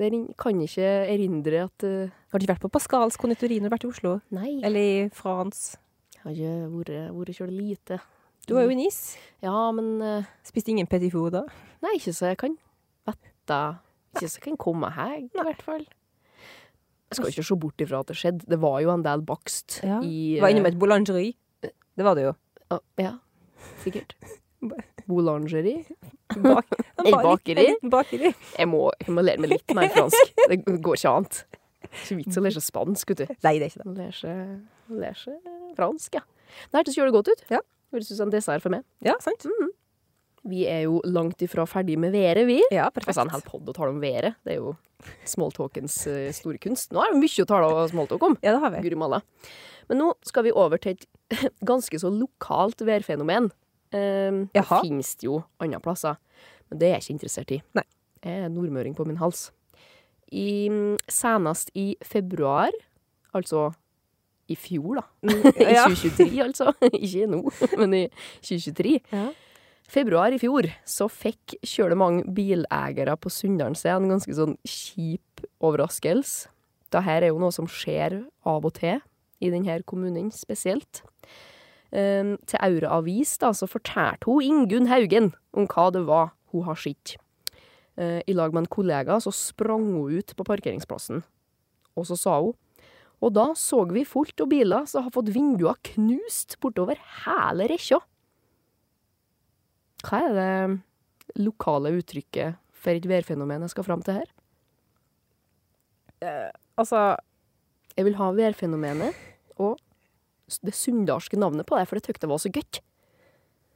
[SPEAKER 3] det ring- kan ikke erindre at eh,
[SPEAKER 2] Har du ikke vært på Pascals konditori når du har vært i Oslo?
[SPEAKER 3] Nei. Jeg
[SPEAKER 2] Eller i France?
[SPEAKER 3] har ikke vært- vært kjølig lite.
[SPEAKER 2] Du var jo i Nice.
[SPEAKER 3] Ja, men eh,
[SPEAKER 2] Spiste ingen petit four da.
[SPEAKER 3] Nei, ikke så jeg kan vette. Ikke så jeg kan komme her, i hvert fall. Jeg skal ikke se bort ifra at det skjedde. Det var jo en del bakst
[SPEAKER 2] Ja.
[SPEAKER 3] i
[SPEAKER 2] Du var innom
[SPEAKER 3] eh,
[SPEAKER 2] et boulangerie. Det var det jo.
[SPEAKER 3] å, Ja, sikkert. Boulangerie.
[SPEAKER 2] Bak,
[SPEAKER 3] Et bakeri?
[SPEAKER 2] En liten bakeri.
[SPEAKER 3] Jeg må, jeg må lære meg litt mer fransk. Det går ikke annet. Ikke vits å lære seg spansk, vet du.
[SPEAKER 2] Nei, det er ikke det.
[SPEAKER 3] Lære seg- lære seg fransk, ja. Det hørtes jo godt ut.
[SPEAKER 2] Ja.
[SPEAKER 3] Høres ut som en dessert for meg.
[SPEAKER 2] Ja, sant?
[SPEAKER 3] Vi er jo langt ifra ferdig med været, vi.
[SPEAKER 2] Ja,
[SPEAKER 3] Altså, en hel podd å tale om været. Det er jo smalltalkens eh, store kunst. Nå er det mye å tale om smalltalk om.
[SPEAKER 2] Ja, det har vi.
[SPEAKER 3] Guri malla. Men nå skal vi over til et ganske så lokalt værfenomen. Um, det
[SPEAKER 2] Jaha.
[SPEAKER 3] finnes det jo andre plasser, men det er jeg ikke interessert i.
[SPEAKER 2] Nei.
[SPEAKER 3] Jeg er nordmøring på min hals. I, mm, senest i februar, altså i fjor, da.
[SPEAKER 2] Mm,
[SPEAKER 3] I
[SPEAKER 2] Ja.
[SPEAKER 3] 2023, altså. Ikke nå, men i 2023.
[SPEAKER 2] Ja.
[SPEAKER 3] Februar i fjor så fikk kjøle mange bileiere på Sunndalen seg en ganske sånn kjip overraskelse. Dette er jo noe som skjer av og til i denne kommunen spesielt. Ehm, til Aure Avis da, så fortalte hun Ingunn Haugen om hva det var hun har sett. Eh, I lag med en kollega så sprang hun ut på parkeringsplassen, og så sa hun Og da så vi fullt av biler som har fått vinduer knust bortover hele rekkja. Hva er det lokale uttrykket for et værfenomen jeg skal fram til her?
[SPEAKER 2] Altså,
[SPEAKER 3] Jeg vil ha værfenomenet og s- det sunndalske navnet på det, for det tykte jeg var så gøtt.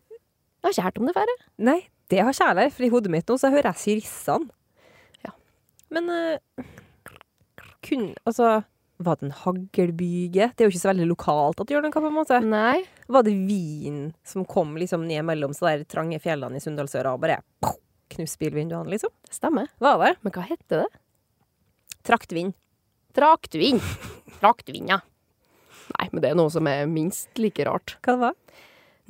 [SPEAKER 3] Jeg har ikke hørt om det før. jeg.
[SPEAKER 2] Nei, det har kjærlighet, for i hodet mitt nå så hører jeg sirissene.
[SPEAKER 3] Ja.
[SPEAKER 2] Men eh, kun, altså, var det en haglbyge? Det er jo ikke så veldig lokalt at det gjør noe, på en måte.
[SPEAKER 3] Nei.
[SPEAKER 2] Var det vin som kom liksom ned mellom så der trange fjellene i Sunndalsøra og bare pow, knuste bilvinduene, liksom?
[SPEAKER 3] Det stemmer.
[SPEAKER 2] Var det?
[SPEAKER 3] Men hva heter det?
[SPEAKER 2] Traktvind.
[SPEAKER 3] Draktvind. Draktvind, ja. Nei, men det er noe som er minst like rart.
[SPEAKER 2] Hva det var?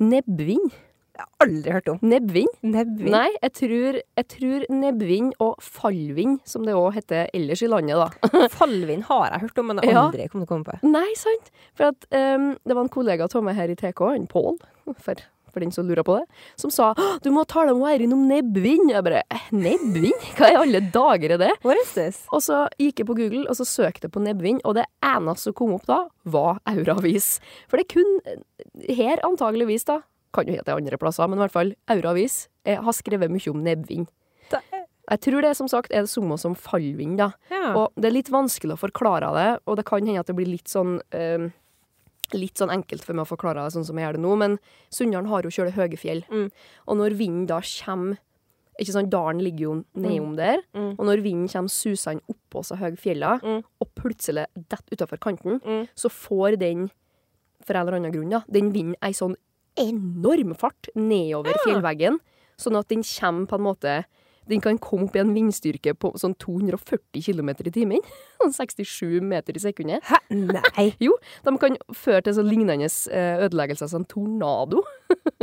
[SPEAKER 3] Nebbvind.
[SPEAKER 2] Jeg har aldri hørt om.
[SPEAKER 3] Nebbvind?
[SPEAKER 2] Nebbvin.
[SPEAKER 3] Nei, jeg tror, jeg tror nebbvind og fallvind, som det òg heter ellers i landet, da.
[SPEAKER 2] Fallvin har jeg hørt om, men jeg har
[SPEAKER 3] Ja.
[SPEAKER 2] aldri kommet til å komme på.
[SPEAKER 3] Nei, sant? For at, ehm, det var en kollega av meg her i TK, en Pål, for, for den som lurer på det, som sa «Åh, du må tale med Eirin om nebbvind. Jeg bare «Eh, nebbvind? Hva i alle dager er det?
[SPEAKER 2] What is this?
[SPEAKER 3] Og så gikk jeg på Google og så søkte jeg på nebbvind, og det eneste som kom opp da, var Auravis. For det er kun eh, her antageligvis da, kan jo hete andre plasser, men i hvert fall Auravis eh, har skrevet mye om nebbvind.
[SPEAKER 2] Da- eh,
[SPEAKER 3] Jeg tror det som sagt er det samme som fallvind, da.
[SPEAKER 2] Ja.
[SPEAKER 3] Og det er litt vanskelig å forklare det, og det kan hende at det blir litt sånn eh, Litt sånn enkelt for meg å forklare det sånn som jeg gjør det nå, men Sunndalen har jo kjølig høye fjell.
[SPEAKER 2] Mm.
[SPEAKER 3] Og når vinden da kommer ikke sant, Dalen ligger jo nedom der,
[SPEAKER 2] Mm.
[SPEAKER 3] og når vinden kommer susende oppå så høye fjella,
[SPEAKER 2] Mm.
[SPEAKER 3] og plutselig detter utafor kanten,
[SPEAKER 2] Mm.
[SPEAKER 3] så får den, for en eller annen grunn, da, den vinden ei sånn enorm fart nedover fjellveggen, sånn at den kommer på en måte den kan komme opp i en vindstyrke på sånn 240 km i timen. Sånn 67 meter i sekundet.
[SPEAKER 2] Hæ? Nei.
[SPEAKER 3] Jo, de kan føre til så lignende eh, ødeleggelser som en tornado.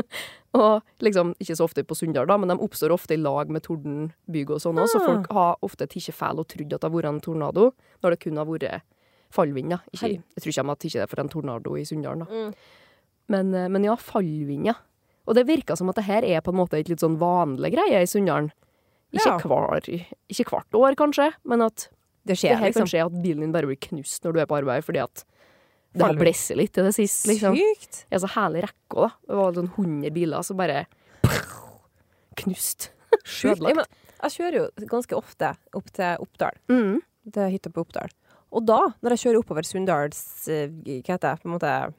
[SPEAKER 3] og liksom, ikke så ofte på Sunndal, da, men de oppstår ofte i lag med tordenbyger og sånn òg, så
[SPEAKER 2] Ah.
[SPEAKER 3] folk har ofte tatt feil og trodd at det har vært en tornado, når det kun har vært fallvind. da. Ikke,
[SPEAKER 2] Herre-
[SPEAKER 3] jeg tror ikke de har tatt det for en tornado i Sunndal, da.
[SPEAKER 2] Mm.
[SPEAKER 3] Men, eh, men ja, fallvind, ja. Og det virker som at det her er på en måte et litt sånn vanlig greie i Sunndalen. Ikke,
[SPEAKER 2] Ja.
[SPEAKER 3] hver- ikke hvert år, kanskje, men at
[SPEAKER 2] Det
[SPEAKER 3] det
[SPEAKER 2] skjer,
[SPEAKER 3] her
[SPEAKER 2] liksom.
[SPEAKER 3] kan skje at bilen din bare blir knust når du er på arbeid, fordi at det har
[SPEAKER 2] Faller.
[SPEAKER 3] blesset litt til det sist, liksom.
[SPEAKER 2] Sykt.
[SPEAKER 3] Ja, så hele rekka, da. Det var sånn 100 biler, så bare knust.
[SPEAKER 2] Sjukt.
[SPEAKER 3] Ødelagt.
[SPEAKER 2] Jeg, men, jeg kjører jo ganske ofte opp til Oppdal.
[SPEAKER 3] Mm.
[SPEAKER 2] Det er hytta på Oppdal. Og da, når jeg kjører oppover Sunndals eh, Hva heter det? På en måte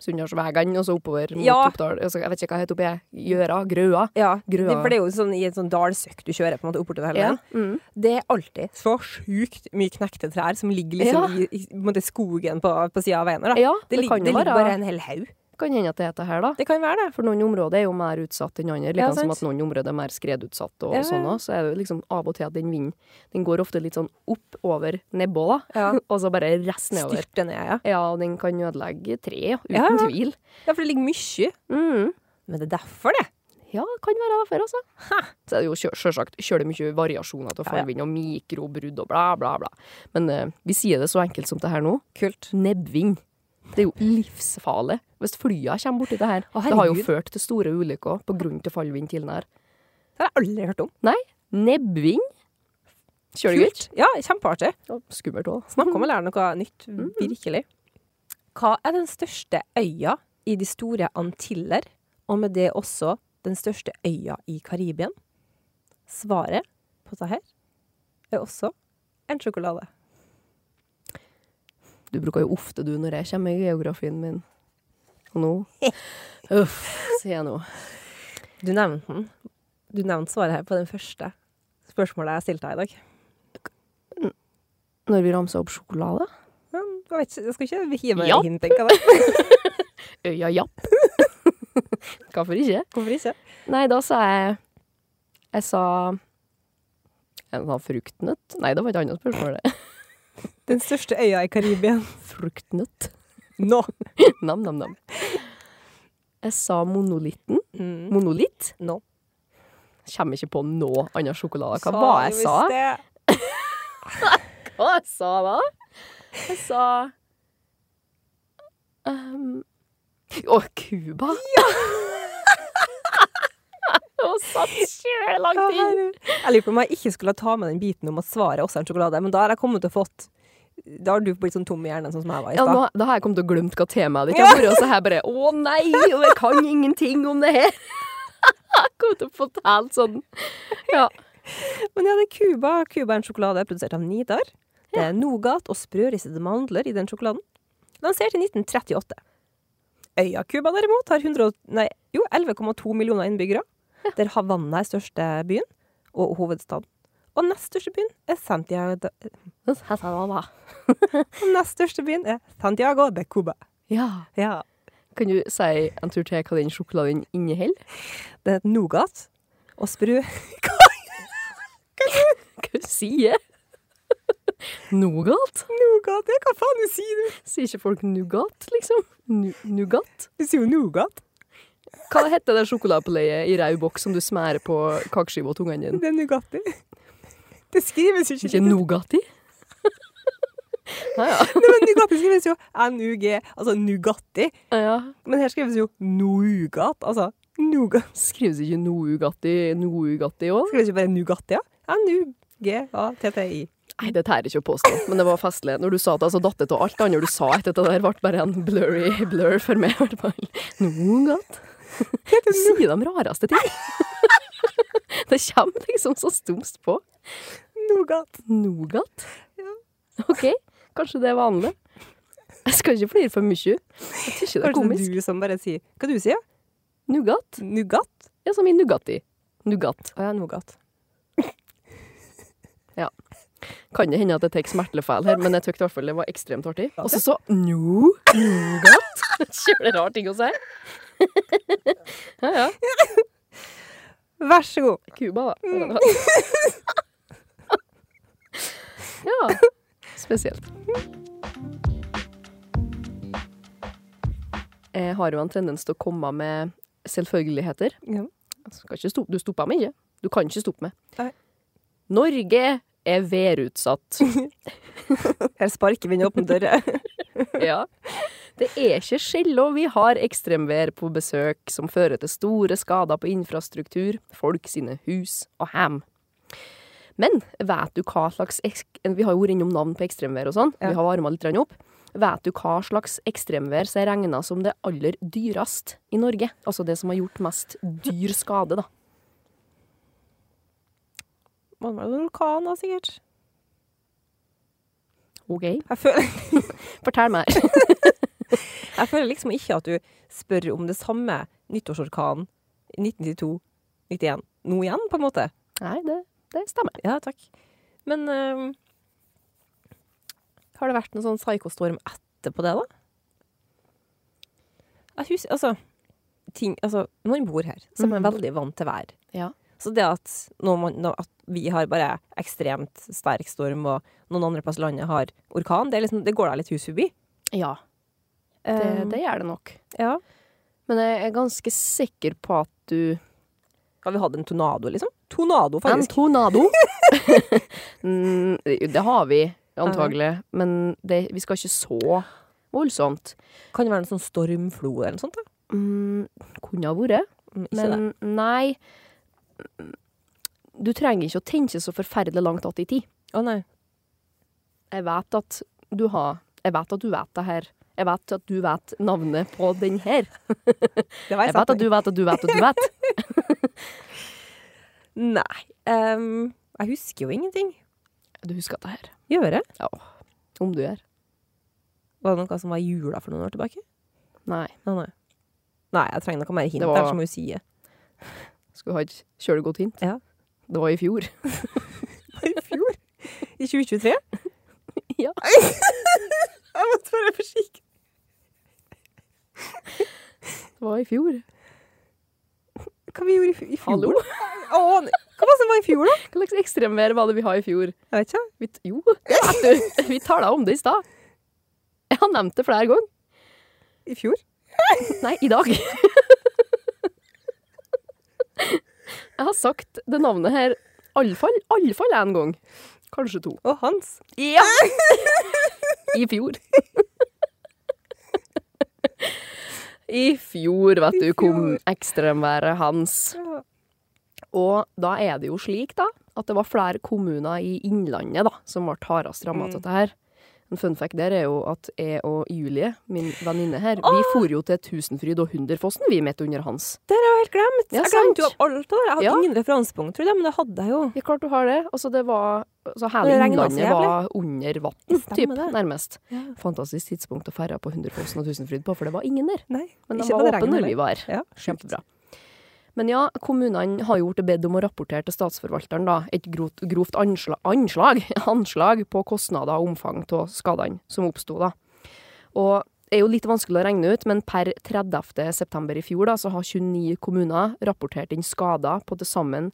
[SPEAKER 3] Sunndalsvegen, og så oppover mot
[SPEAKER 2] Ja.
[SPEAKER 3] Oppdal. Altså, Jeg vet ikke hva det heter oppi her. Gjøra? Grøa?
[SPEAKER 2] Ja, det,
[SPEAKER 3] Grøa.
[SPEAKER 2] for det er jo sånn i en sånn dalsøkk du kjører på en måte oppover til hele veien.
[SPEAKER 3] Mm.
[SPEAKER 2] Det er alltid så sjukt mye knekte trær som ligger liksom
[SPEAKER 3] Ja.
[SPEAKER 2] i, i på en måte, skogen på, på sida av veien. her, Da.
[SPEAKER 3] ja,
[SPEAKER 2] Ah, det,
[SPEAKER 3] det,
[SPEAKER 2] ligger-
[SPEAKER 3] kan
[SPEAKER 2] det
[SPEAKER 3] jo
[SPEAKER 2] ligger bare
[SPEAKER 3] være.
[SPEAKER 2] en hel haug.
[SPEAKER 3] Kan hende at det heter her, da.
[SPEAKER 2] Det kan være det.
[SPEAKER 3] For noen områder er jo mer utsatt enn andre.
[SPEAKER 2] Ja,
[SPEAKER 3] Liksom som
[SPEAKER 2] sant.
[SPEAKER 3] at noen områder er mer skredutsatt og,
[SPEAKER 2] Ja,
[SPEAKER 3] og sånn
[SPEAKER 2] ja.
[SPEAKER 3] også. Så er det jo liksom av og til at den vinden den går ofte litt sånn opp over nebbå, da.
[SPEAKER 2] Ja.
[SPEAKER 3] og så bare rest nedover.
[SPEAKER 2] Styrter ned, ja.
[SPEAKER 3] Ja, og den kan ødelegge tre, ja, uten
[SPEAKER 2] Ja, ja.
[SPEAKER 3] tvil. Mm.
[SPEAKER 2] Ja, for det ligger mye. Men det er derfor, det.
[SPEAKER 3] Ja, det kan være derfor, altså. Så er det jo sjø- sjølsagt kjølig mye variasjoner til
[SPEAKER 2] Ja, ja.
[SPEAKER 3] fallvind og mikrobrudd og bla, bla, bla. Men eh, vi sier det så enkelt som det her nå.
[SPEAKER 2] Kult.
[SPEAKER 3] Nebbvind. Det er jo livsfarlig hvis flya kommer borti det her.
[SPEAKER 2] Å,
[SPEAKER 3] det har jo
[SPEAKER 2] herregud.
[SPEAKER 3] ført til store ulykker på grunn til fallvind tidligere.
[SPEAKER 2] Det har jeg aldri hørt om.
[SPEAKER 3] Nei, nebbvind. Kjører du gutt?
[SPEAKER 2] Ja, kjempeartig.
[SPEAKER 3] Skummelt altså. òg.
[SPEAKER 2] Snakk om å lære noe nytt, virkelig. Hva er den største øya i de store Antiller, og med det også den største øya i Karibien? Svaret på det her er også en sjokolade.
[SPEAKER 3] Du bruker jo ofte du når jeg kommer i geografien min. Og nå Uff, sier jeg nå.
[SPEAKER 2] Du nevnte den. Du nevnte svaret her på den første spørsmålet jeg stilte deg i dag.
[SPEAKER 3] Når vi ramser opp sjokolade?
[SPEAKER 2] Men jeg, vet ikke, jeg skal ikke hive meg
[SPEAKER 3] Ja.
[SPEAKER 2] i hint, tenker jeg.
[SPEAKER 3] Øya Japp. Hvorfor ikke?
[SPEAKER 2] Hvorfor ikke?
[SPEAKER 3] Nei, da sa jeg Jeg sa En sånn fruktnøtt? Nei, det var et annet spørsmål. det.
[SPEAKER 2] Den største øya i Karibien.
[SPEAKER 3] Fruktnøtt?
[SPEAKER 2] Nå!
[SPEAKER 3] Nam-nam-nam. Jeg sa monolitten.
[SPEAKER 2] Mm.
[SPEAKER 3] Monolitt?
[SPEAKER 2] Nå.
[SPEAKER 3] Kommer ikke på noe annet sjokolade. Hva var jeg sa?
[SPEAKER 2] det?
[SPEAKER 3] Hva jeg sa da? Jeg sa um, Å, Cuba! Ja! Hun satt
[SPEAKER 2] Ja,
[SPEAKER 3] sjølangt inn.
[SPEAKER 2] herregud. Jeg lurer på om jeg ikke skulle ta med den biten om at svaret også er en sjokolade, men da har jeg kommet til å fått Da har du blitt sånn tom i hjernen, sånn som jeg var i
[SPEAKER 3] Ja,
[SPEAKER 2] stad.
[SPEAKER 3] nå, da har jeg kommet til å glemt hva temaet ditt har vært, og så har jeg bare Å nei, og jeg kan ingenting om det her. Jeg kommer til å fortelle sånn. Ja.
[SPEAKER 2] Men ja, det er Cuba. Cuba er en sjokolade produsert av Nidar. Det er nougat og sprøristede mandler i den sjokoladen. Lansert i 1938. Øya Cuba, derimot, har 100, og- nei, jo, 11,2 millioner innbyggere. Der Havanna er største byen, og hovedstaden. Og nest største byen er Santiago,
[SPEAKER 3] Jeg sa hva da?
[SPEAKER 2] og nest største byen er Santiago de Cuba.
[SPEAKER 3] Ja.
[SPEAKER 2] Ja.
[SPEAKER 3] Kan du si en tur til hva den sjokoladen inneholder?
[SPEAKER 2] Det er nougat og sprø
[SPEAKER 3] Hva sier jeg? Nougat?
[SPEAKER 2] Nougat, ja, hva faen du sier du?
[SPEAKER 3] Sier ikke folk nougat, liksom? Nu- Nougat?
[SPEAKER 2] Du sier jo nougat.
[SPEAKER 3] Hva heter det sjokoladepaleiet i rød boks som du smærer på kakeskiva til ungene dine?
[SPEAKER 2] Det er Nugatti. Det skrives jo
[SPEAKER 3] Ikke Nugatti? Ja, ja.
[SPEAKER 2] Nei, men Nugatti skrives jo NUG, altså Nugatti.
[SPEAKER 3] ja, ja.
[SPEAKER 2] Men her skrives jo Nougat, altså Nougat.
[SPEAKER 3] Skrives ikke Nougatti Nougatti òg?
[SPEAKER 2] Skrives jo bare Nugatti, ja. N-U-G-A-T-T-I.
[SPEAKER 3] Nei, det tærer ikke å påstå, men det var festlig. Når du sa det, altså datt det av alt det andre du sa etter det der, ble bare en blurry blur for meg. i hvert fall. Nougat. Du sier de rareste ting. Det kommer liksom så stumst på.
[SPEAKER 2] Nougat.
[SPEAKER 3] Nougat? OK, kanskje det er vanlig. Jeg skal ikke flire for mye. Jeg syns det er
[SPEAKER 2] Kanskje det
[SPEAKER 3] komisk.
[SPEAKER 2] er du som bare sier Hva du sier
[SPEAKER 3] Nougat?
[SPEAKER 2] Nougat?
[SPEAKER 3] Ja, som i Nugatti. Nougat.
[SPEAKER 2] Å ja, Nougat.
[SPEAKER 3] Kan det hende at jeg tar smertelefeil her, men jeg syns i hvert fall det var ekstremt artig.
[SPEAKER 2] Ja,
[SPEAKER 3] Og
[SPEAKER 2] det-
[SPEAKER 3] så så nu, Nougat. Kjølig rar ting å si. Ja, ja.
[SPEAKER 2] Vær så god.
[SPEAKER 3] Cuba,
[SPEAKER 2] Mm.
[SPEAKER 3] da. Ja. Spesielt. Jeg har jo en tendens til å komme med selvfølgeligheter.
[SPEAKER 2] Ja.
[SPEAKER 3] Du, skal ikke stoppe, du stopper meg ikke. Du kan ikke stoppe meg.
[SPEAKER 2] Nei.
[SPEAKER 3] Norge er værutsatt.
[SPEAKER 2] Her sparker vi inn åpne dører.
[SPEAKER 3] ja. Det er ikke skjellå. Vi har ekstremvær på besøk som fører til store skader på infrastruktur, folk sine hus og hjem. Men vet du hva slags ek- Vi har jo vært innom navn på ekstremvær og sånn.
[SPEAKER 2] Ja.
[SPEAKER 3] Vi har varma litt grann opp. Vet du hva slags ekstremvær som er regna som det aller dyrest i Norge? Altså det som har gjort mest dyr skade, da.
[SPEAKER 2] Må være en orkan, da, sikkert.
[SPEAKER 3] OK?
[SPEAKER 2] Jeg føler,
[SPEAKER 3] Fortell mer.
[SPEAKER 2] jeg føler liksom ikke at du spør om det samme nyttårsorkanen i 1992, 91, nå igjen, på en måte.
[SPEAKER 3] Nei, det, det stemmer.
[SPEAKER 2] Ja, takk. Men ehm, har det vært noen sånn psykostorm etterpå det, da? Jeg husker, altså, ting, altså Når man bor her, så er man
[SPEAKER 3] Mhm.
[SPEAKER 2] veldig vant til vær.
[SPEAKER 3] Ja.
[SPEAKER 2] Så det at, når man, når, at vi har bare ekstremt sterk storm, og noen andre plass i landet har orkan, det, er liksom, det går deg litt hus forbi.
[SPEAKER 3] Ja, det,
[SPEAKER 2] Ehm,
[SPEAKER 3] det gjør det nok.
[SPEAKER 2] Ja.
[SPEAKER 3] Men jeg er ganske sikker på at du
[SPEAKER 2] Har vi hatt en tornado, liksom? Tornado,
[SPEAKER 3] En
[SPEAKER 2] faktisk.
[SPEAKER 3] tornado! Mm, det har vi antagelig, men det, vi skal ikke så voldsomt.
[SPEAKER 2] Kan det være en sånn stormflo eller noe sånt? da?
[SPEAKER 3] Mm, kunne ha vært,
[SPEAKER 2] Mm, Ikke det.
[SPEAKER 3] men nei. Du trenger ikke å tenke så forferdelig langt att i tid.
[SPEAKER 2] Å nei.
[SPEAKER 3] Jeg vet at du har Jeg vet at du vet det her. Jeg vet at du vet navnet på den her.
[SPEAKER 2] Det var en
[SPEAKER 3] Jeg vet
[SPEAKER 2] setning.
[SPEAKER 3] at du vet at du vet at du vet.
[SPEAKER 2] Nei. ehm, jeg husker jo ingenting.
[SPEAKER 3] Du husker det her.
[SPEAKER 2] Gjør jeg?
[SPEAKER 3] Ja. Om du gjør.
[SPEAKER 2] Var det noe som var i jula for noen år tilbake?
[SPEAKER 3] Nei.
[SPEAKER 2] Nei, nei. nei jeg trenger noe mer hint.
[SPEAKER 3] Det var-
[SPEAKER 2] her, som hun sier.
[SPEAKER 3] Skulle ha et kjølig godt hint.
[SPEAKER 2] Ja.
[SPEAKER 3] Det var i fjor.
[SPEAKER 2] I fjor? I 2023?
[SPEAKER 3] Ja.
[SPEAKER 2] jeg måtte være forsiktig.
[SPEAKER 3] Det var i fjor.
[SPEAKER 2] Hva vi gjorde i f- i fjor?
[SPEAKER 3] Hallo?
[SPEAKER 2] Å, nei. hva var det som var i fjor, da?
[SPEAKER 3] Hva slags ekstremvær var det vi har i fjor?
[SPEAKER 2] Jeg vet ikke.
[SPEAKER 3] Vi, t- jo, det vet du. Vi tala om det i stad. Jeg har nevnt det flere ganger.
[SPEAKER 2] I fjor?
[SPEAKER 3] Nei, i dag. Jeg har sagt det navnet her iallfall iallfall én gang. Kanskje to.
[SPEAKER 2] Og Hans.
[SPEAKER 3] Ja! I fjor. I fjor, vet du, kom ekstremværet hans.
[SPEAKER 2] Ja.
[SPEAKER 3] Og da er det jo slik da, at det var flere kommuner i Innlandet da, som ble hardest rammet av dette her. En fun fact der er jo at jeg og Julie, min venninne her, vi for jo til Tusenfryd og Hunderfossen vi midt under hans.
[SPEAKER 2] Det har jeg helt glemt.
[SPEAKER 3] Ja,
[SPEAKER 2] jeg glemte jo
[SPEAKER 3] sant.
[SPEAKER 2] alt det der. Jeg hadde
[SPEAKER 3] Ja.
[SPEAKER 2] ingen referansepunkt, tror jeg, men det hadde jeg jo.
[SPEAKER 3] Ja, klart du har det. Altså det var, altså hele
[SPEAKER 2] Det regnet så
[SPEAKER 3] Innlandet var under vatten,
[SPEAKER 2] Stemmer
[SPEAKER 3] typ,
[SPEAKER 2] det.
[SPEAKER 3] nærmest.
[SPEAKER 2] Ja.
[SPEAKER 3] Fantastisk tidspunkt å ferde på Hunderfossen og Tusenfryd på, for det var ingen der.
[SPEAKER 2] Nei,
[SPEAKER 3] Men de
[SPEAKER 2] ikke
[SPEAKER 3] var
[SPEAKER 2] da det
[SPEAKER 3] åpne
[SPEAKER 2] regnet
[SPEAKER 3] når vi var.
[SPEAKER 2] Ja, sjukt.
[SPEAKER 3] Kjempebra. Men ja, kommunene har jo blitt bedt om å rapportere til statsforvalteren da, et grovt, grovt anslag, anslag, anslag på kostnader og omfang av skadene som oppsto. da. Og det er jo litt vanskelig å regne ut, men per 30. september i fjor da, så har 29 kommuner rapportert inn skader på til sammen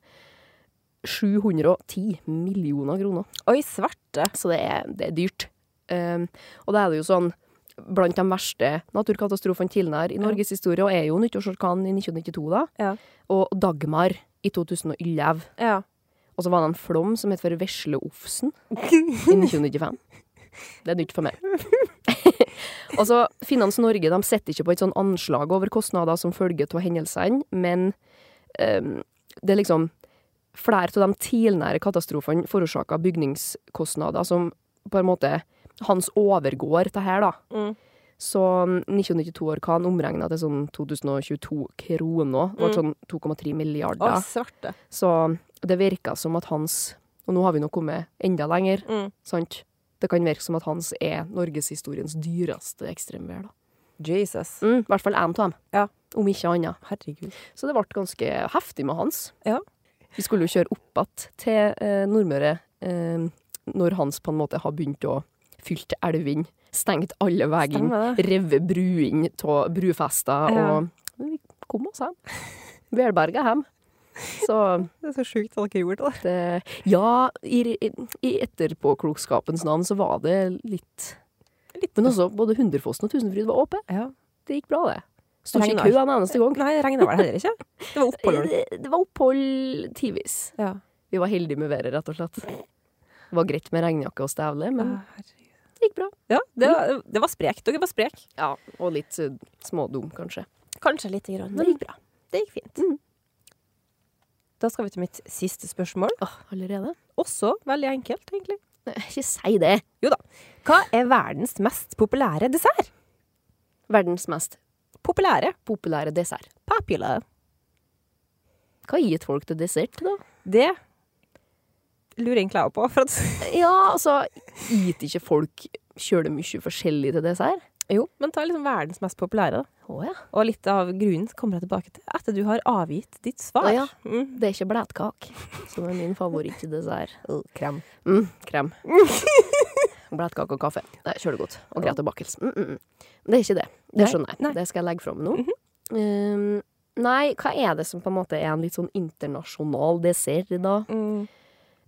[SPEAKER 3] 710 millioner kroner.
[SPEAKER 2] Oi, svarte.
[SPEAKER 3] Så det er, det er dyrt. Ehm, og da er det jo sånn blant de verste naturkatastrofene tidligere i Norges historie, og er jo nyttårsorkanen i 1992, da.
[SPEAKER 2] Ja.
[SPEAKER 3] Og Dagmar i 2011.
[SPEAKER 2] Ja.
[SPEAKER 3] Og så var det en flom som het for Vesleofsen i 1995. Det er nytt for meg. og så Finans Norge de setter ikke på et sånn anslag over kostnader som følge av hendelsene, men ehm, det er liksom flere av de tidligere katastrofene forårsaka bygningskostnader som på en måte hans overgår det her, da.
[SPEAKER 2] Mm.
[SPEAKER 3] Så 1992-orkan omregna til sånn 2022 kroner, ble sånn 2,3
[SPEAKER 2] Mm.
[SPEAKER 3] milliarder.
[SPEAKER 2] Å, svarte.
[SPEAKER 3] Så det virka som at hans Og nå har vi nå kommet enda lenger,
[SPEAKER 2] Mm.
[SPEAKER 3] sant? Det kan virke som at hans er norgeshistoriens dyreste ekstremvær, da.
[SPEAKER 2] Jesus.
[SPEAKER 3] Mm, I hvert fall én av dem.
[SPEAKER 2] Ja.
[SPEAKER 3] Om ikke annet.
[SPEAKER 2] Herregud.
[SPEAKER 3] Så det ble ganske heftig med hans.
[SPEAKER 2] Ja.
[SPEAKER 3] Vi skulle jo kjøre opp igjen til eh, Nordmøre eh, når hans på en måte har begynt å fylt elvene, stengt alle veiene,
[SPEAKER 2] Stemmer det.
[SPEAKER 3] revet bruene av brufester,
[SPEAKER 2] Ja.
[SPEAKER 3] og vi kom oss hjem. Velberga hjem. Så
[SPEAKER 2] Det er så sjukt at dere gjorde det.
[SPEAKER 3] det, eh, ja, i, i, i etterpåklokskapens navn så var det litt
[SPEAKER 2] Litt.
[SPEAKER 3] Men også både Hunderfossen og Tusenfryd var åpne.
[SPEAKER 2] Ja.
[SPEAKER 3] Det gikk bra, det. Sto ikke i
[SPEAKER 2] Regnar.
[SPEAKER 3] kø en eneste gang.
[SPEAKER 2] Nei, det regna vel heller ikke? Det var opphold.
[SPEAKER 3] Det, det var opphold tidvis.
[SPEAKER 2] Ja.
[SPEAKER 3] Vi var heldige med været, rett og slett. Det var greit med regnjakke og stævle, men
[SPEAKER 2] Å, Ah, herregud.
[SPEAKER 3] det gikk bra.
[SPEAKER 2] Ja, det var, det var sprek. Dere var sprek.
[SPEAKER 3] Ja, Og litt eh, smådum, kanskje.
[SPEAKER 2] Kanskje lite grann,
[SPEAKER 3] Men
[SPEAKER 2] men
[SPEAKER 3] det gikk bra.
[SPEAKER 2] det gikk fint. Da skal vi til mitt siste spørsmål.
[SPEAKER 3] Åh, allerede?
[SPEAKER 2] Også veldig enkelt, egentlig.
[SPEAKER 3] Nei, Ikke si det!
[SPEAKER 2] Jo da. Hva er verdens mest populære dessert?
[SPEAKER 3] Verdens mest
[SPEAKER 2] Populære.
[SPEAKER 3] populære dessert.
[SPEAKER 2] Popular.
[SPEAKER 3] Hva gir folk til dessert, da?
[SPEAKER 2] Det lurer egentlig jeg også på. For at,
[SPEAKER 3] Ja, altså, gir ikke folk kjølig mye forskjellig til dessert?
[SPEAKER 2] jo, men ta liksom verdens mest populære, da.
[SPEAKER 3] Å ja.
[SPEAKER 2] Og litt av grunnen kommer jeg tilbake til etter du har avgitt ditt svar.
[SPEAKER 3] Å ja.
[SPEAKER 2] Mm.
[SPEAKER 3] Det er ikke blætkake, som er min favorittdessert.
[SPEAKER 2] Krem.
[SPEAKER 3] Mm, krem. Blætkake og kaffe. Det er kjølig godt. Og Grete Bakkels. Mm, mm, mm. Det er ikke det. Det
[SPEAKER 2] Nei,
[SPEAKER 3] skjønner jeg.
[SPEAKER 2] nei. Mhm.
[SPEAKER 3] Det skal jeg legge fram nå. um, nei, hva er det som på en måte er en litt sånn internasjonal dessert, da?
[SPEAKER 2] Mm.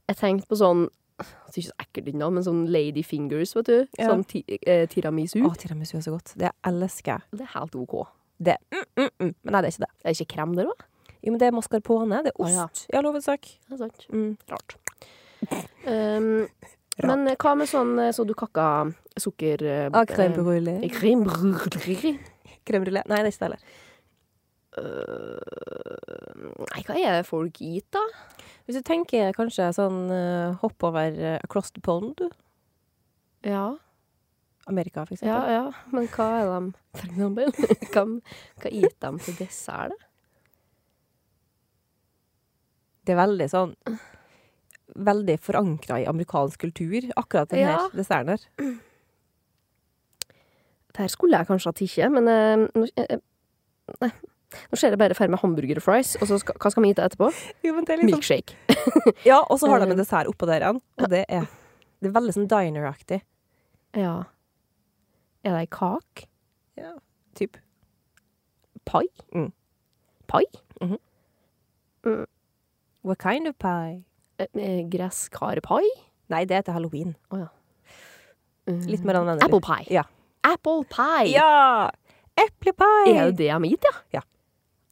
[SPEAKER 3] Jeg tenkte på sånn det er ikke så ekkelt ennå, men sånn lady fingers, vet du.
[SPEAKER 2] Ja.
[SPEAKER 3] Sånn ti eh, tiramisu.
[SPEAKER 2] Å, tiramisu er så godt. Det elsker jeg.
[SPEAKER 3] Det er helt OK.
[SPEAKER 2] Det. Mm, mm, mm. Men nei, det er ikke det.
[SPEAKER 3] Det er ikke krem der òg?
[SPEAKER 2] Jo, men det er mascarpone. Det er
[SPEAKER 3] Å, ja.
[SPEAKER 2] ost i all hovedsak.
[SPEAKER 3] Det er sant.
[SPEAKER 2] Mm.
[SPEAKER 3] Rart. Um, men hva med sånn eh, så du kakka sukker... eh,
[SPEAKER 2] Ah, crème brûlée.
[SPEAKER 3] eh, crème brûlée.
[SPEAKER 2] Crème brûlée. Nei, det er ikke det heller.
[SPEAKER 3] Nei, hva er det folk gitt, da?
[SPEAKER 2] Hvis du tenker kanskje sånn eh, hopp over eh, across the pond,
[SPEAKER 3] Ja,
[SPEAKER 2] Amerika for
[SPEAKER 3] ja,
[SPEAKER 2] eksempel.
[SPEAKER 3] ja. Men hva er de For eksempel, hva, hva gitt dem til dessert, da?
[SPEAKER 2] Det er veldig sånn Veldig forankra i amerikansk kultur, akkurat den
[SPEAKER 3] Ja.
[SPEAKER 2] her desserten her.
[SPEAKER 3] Det her skulle jeg kanskje ha tatt, men eh, nå, eh, nei. Nå ser jeg bare ferdig med hamburger og fries, og så skal, hva skal vi gitt etterpå?
[SPEAKER 2] Jo, men det er liksom
[SPEAKER 3] Milkshake.
[SPEAKER 2] Ja, og så har de
[SPEAKER 3] Eh.
[SPEAKER 2] en dessert oppå der igjen, og det er Det er veldig sånn diner-aktig.
[SPEAKER 3] Ja. Er det ei kake?
[SPEAKER 2] Ja. Typ.
[SPEAKER 3] Pai?
[SPEAKER 2] Mm.
[SPEAKER 3] Pai?
[SPEAKER 2] What kind of pie?
[SPEAKER 3] Eh, eh, Gresskarpai?
[SPEAKER 2] Nei, det er til halloween. Litt
[SPEAKER 3] Mm.
[SPEAKER 2] mer anvendelig.
[SPEAKER 3] Apple pie.
[SPEAKER 2] Ja.
[SPEAKER 3] Apple pie!
[SPEAKER 2] Ja! Eplepai!
[SPEAKER 3] Er jo det jeg mente,
[SPEAKER 2] Ja.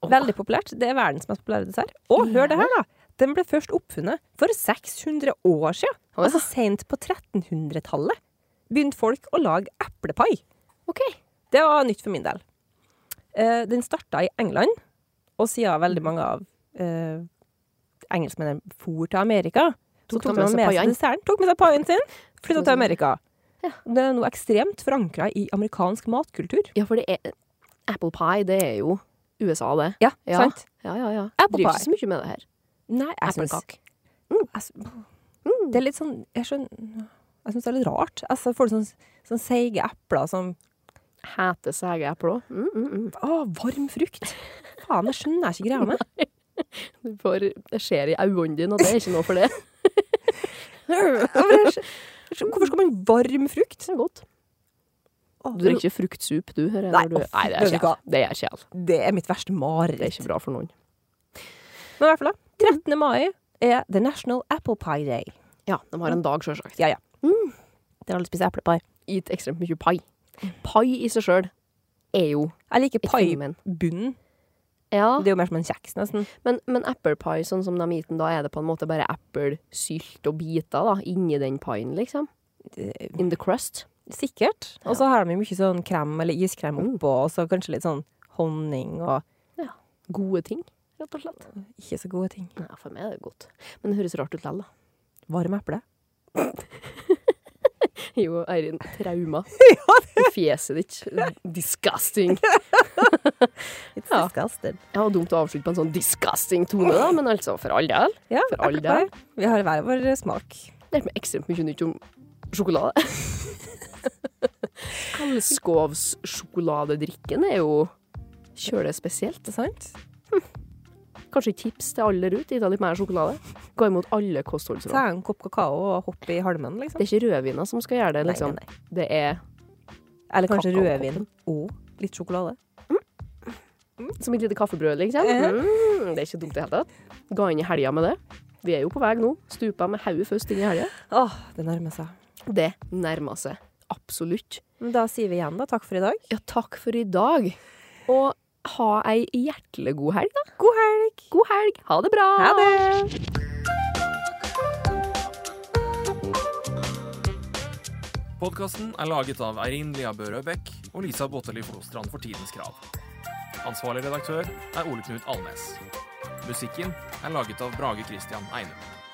[SPEAKER 3] Åh.
[SPEAKER 2] Veldig populært. Det er verdens mest populære dessert. Og hør det her, da! Den ble først oppfunnet for 600 år siden.
[SPEAKER 3] Åh, ja.
[SPEAKER 2] Altså sent på 1300-tallet begynte folk å lage eplepai.
[SPEAKER 3] OK.
[SPEAKER 2] Det var nytt for min del. Eh, den starta i England, og siden
[SPEAKER 3] Mm.
[SPEAKER 2] veldig mange av eh, engelskmennene for til Amerika, så tok
[SPEAKER 3] Tok de
[SPEAKER 2] de
[SPEAKER 3] med seg
[SPEAKER 2] med seg
[SPEAKER 3] paien?
[SPEAKER 2] desserten, tok med seg paien sin, flytta
[SPEAKER 3] med
[SPEAKER 2] til
[SPEAKER 3] seg-
[SPEAKER 2] Amerika.
[SPEAKER 3] Ja.
[SPEAKER 2] Det er noe ekstremt forankra i amerikansk matkultur.
[SPEAKER 3] Ja, for det er Apple pie, det er jo USA, det.
[SPEAKER 2] Ja,
[SPEAKER 3] Ja.
[SPEAKER 2] sant?
[SPEAKER 3] Ja, ja, ja.
[SPEAKER 2] Apple
[SPEAKER 3] Driver
[SPEAKER 2] pie.
[SPEAKER 3] ikke så mye med det her.
[SPEAKER 2] Nei, jeg syns
[SPEAKER 3] Eplekake. Mm.
[SPEAKER 2] jeg s- Det er litt sånn Jeg skjønner Jeg syns det er litt rart. Altså, får du sånn, sånn seige epler som
[SPEAKER 3] Hete sege eple òg. Mm, mm, mm.
[SPEAKER 2] Å, varm frukt! Faen, det skjønner jeg ikke greia med.
[SPEAKER 3] Du får- Det skjer i øynene dine, og det er ikke noe for det.
[SPEAKER 2] Hvorfor er- hvorfor skal man varm frukt?
[SPEAKER 3] Det er godt.
[SPEAKER 2] Å,
[SPEAKER 3] Du drikker ikke fruktsup, du. Hører, jeg,
[SPEAKER 2] Nei,
[SPEAKER 3] når du...
[SPEAKER 2] å, fy,
[SPEAKER 3] Nei, det
[SPEAKER 2] vet
[SPEAKER 3] er
[SPEAKER 2] du
[SPEAKER 3] kjæl.
[SPEAKER 2] hva?
[SPEAKER 3] Det er kjæl.
[SPEAKER 2] Det er mitt verste
[SPEAKER 3] Det er
[SPEAKER 2] mareritt.
[SPEAKER 3] ikke bra Mm. for noen.
[SPEAKER 2] Men i hvert fall, da. 13. mai er The National Apple Pie Day.
[SPEAKER 3] Ja, de har en dag, sjølsagt.
[SPEAKER 2] Ja, ja. Der alle spiser eplepai.
[SPEAKER 3] Gitt ekstremt mye pai. Pai i seg sjøl er jo
[SPEAKER 2] Jeg liker
[SPEAKER 3] et
[SPEAKER 2] paibunnen.
[SPEAKER 3] fenomen. Ja,
[SPEAKER 2] Det er jo mer som en kjeks, nesten.
[SPEAKER 3] men, men apple pie, sånn som de er eaten, da er det på en måte bare appelsylt og biter da, inni den paien, liksom.
[SPEAKER 2] Det-
[SPEAKER 3] In the crust.
[SPEAKER 2] Sikkert. Og så har de jo mye sånn krem eller iskrem
[SPEAKER 3] Mm.
[SPEAKER 2] oppå, og så kanskje litt sånn honning og
[SPEAKER 3] Gode ting, rett og slett.
[SPEAKER 2] ikke så gode ting.
[SPEAKER 3] Nei, for meg er det godt. Men det høres rart ut likevel, da.
[SPEAKER 2] Varm eple.
[SPEAKER 3] Jo, Eirin, trauma. Fjeset ditt. Disgusting.
[SPEAKER 2] It's
[SPEAKER 3] Ja.
[SPEAKER 2] disgusted.
[SPEAKER 3] Ja, dumt å avslutte på en sånn disgusting tone, da, men altså, for all del.
[SPEAKER 2] Ja,
[SPEAKER 3] For all
[SPEAKER 2] apple pie. Vi har hver vår smak.
[SPEAKER 3] Lært meg ekstremt mye nytt om sjokolade. Elskovssjokoladedrikken er jo kjølig spesielt.
[SPEAKER 2] Ikke sant?
[SPEAKER 3] Kanskje et tips til alle der ute, gi deg litt mer sjokolade. Gå imot alle kostholdsråd.
[SPEAKER 2] Ta en kopp kakao og hopp i halmen, liksom.
[SPEAKER 3] Det er ikke rødvina som skal gjøre det,
[SPEAKER 2] Nei,
[SPEAKER 3] liksom.
[SPEAKER 2] nei, nei.
[SPEAKER 3] Det er
[SPEAKER 2] Eller kanskje
[SPEAKER 3] Kakaokoppen.
[SPEAKER 2] rødvin og litt sjokolade.
[SPEAKER 3] som et lite kaffebrød, liksom.
[SPEAKER 2] Eh.
[SPEAKER 3] Mm, det er ikke dumt i det hele tatt. Ga inn i helga med det. Vi er jo på vei nå. Stupa med hodet først inn i helga.
[SPEAKER 2] Åh, det nærmer seg.
[SPEAKER 3] Det nærmer seg. Absolutt.
[SPEAKER 2] Men Da sier vi igjen da, takk for i dag.
[SPEAKER 3] Ja, takk for i dag. Og ha ei hjertelig god helg, da.
[SPEAKER 2] God helg!
[SPEAKER 3] God helg. Ha det bra.
[SPEAKER 2] Ha det!
[SPEAKER 1] Podkasten er laget av Eirin Lia Børø Bech og Lisa Botteli Flostrand for Tidens Krav. Ansvarlig redaktør er Ole Knut Alnes. Musikken er laget av Brage Christian Einum.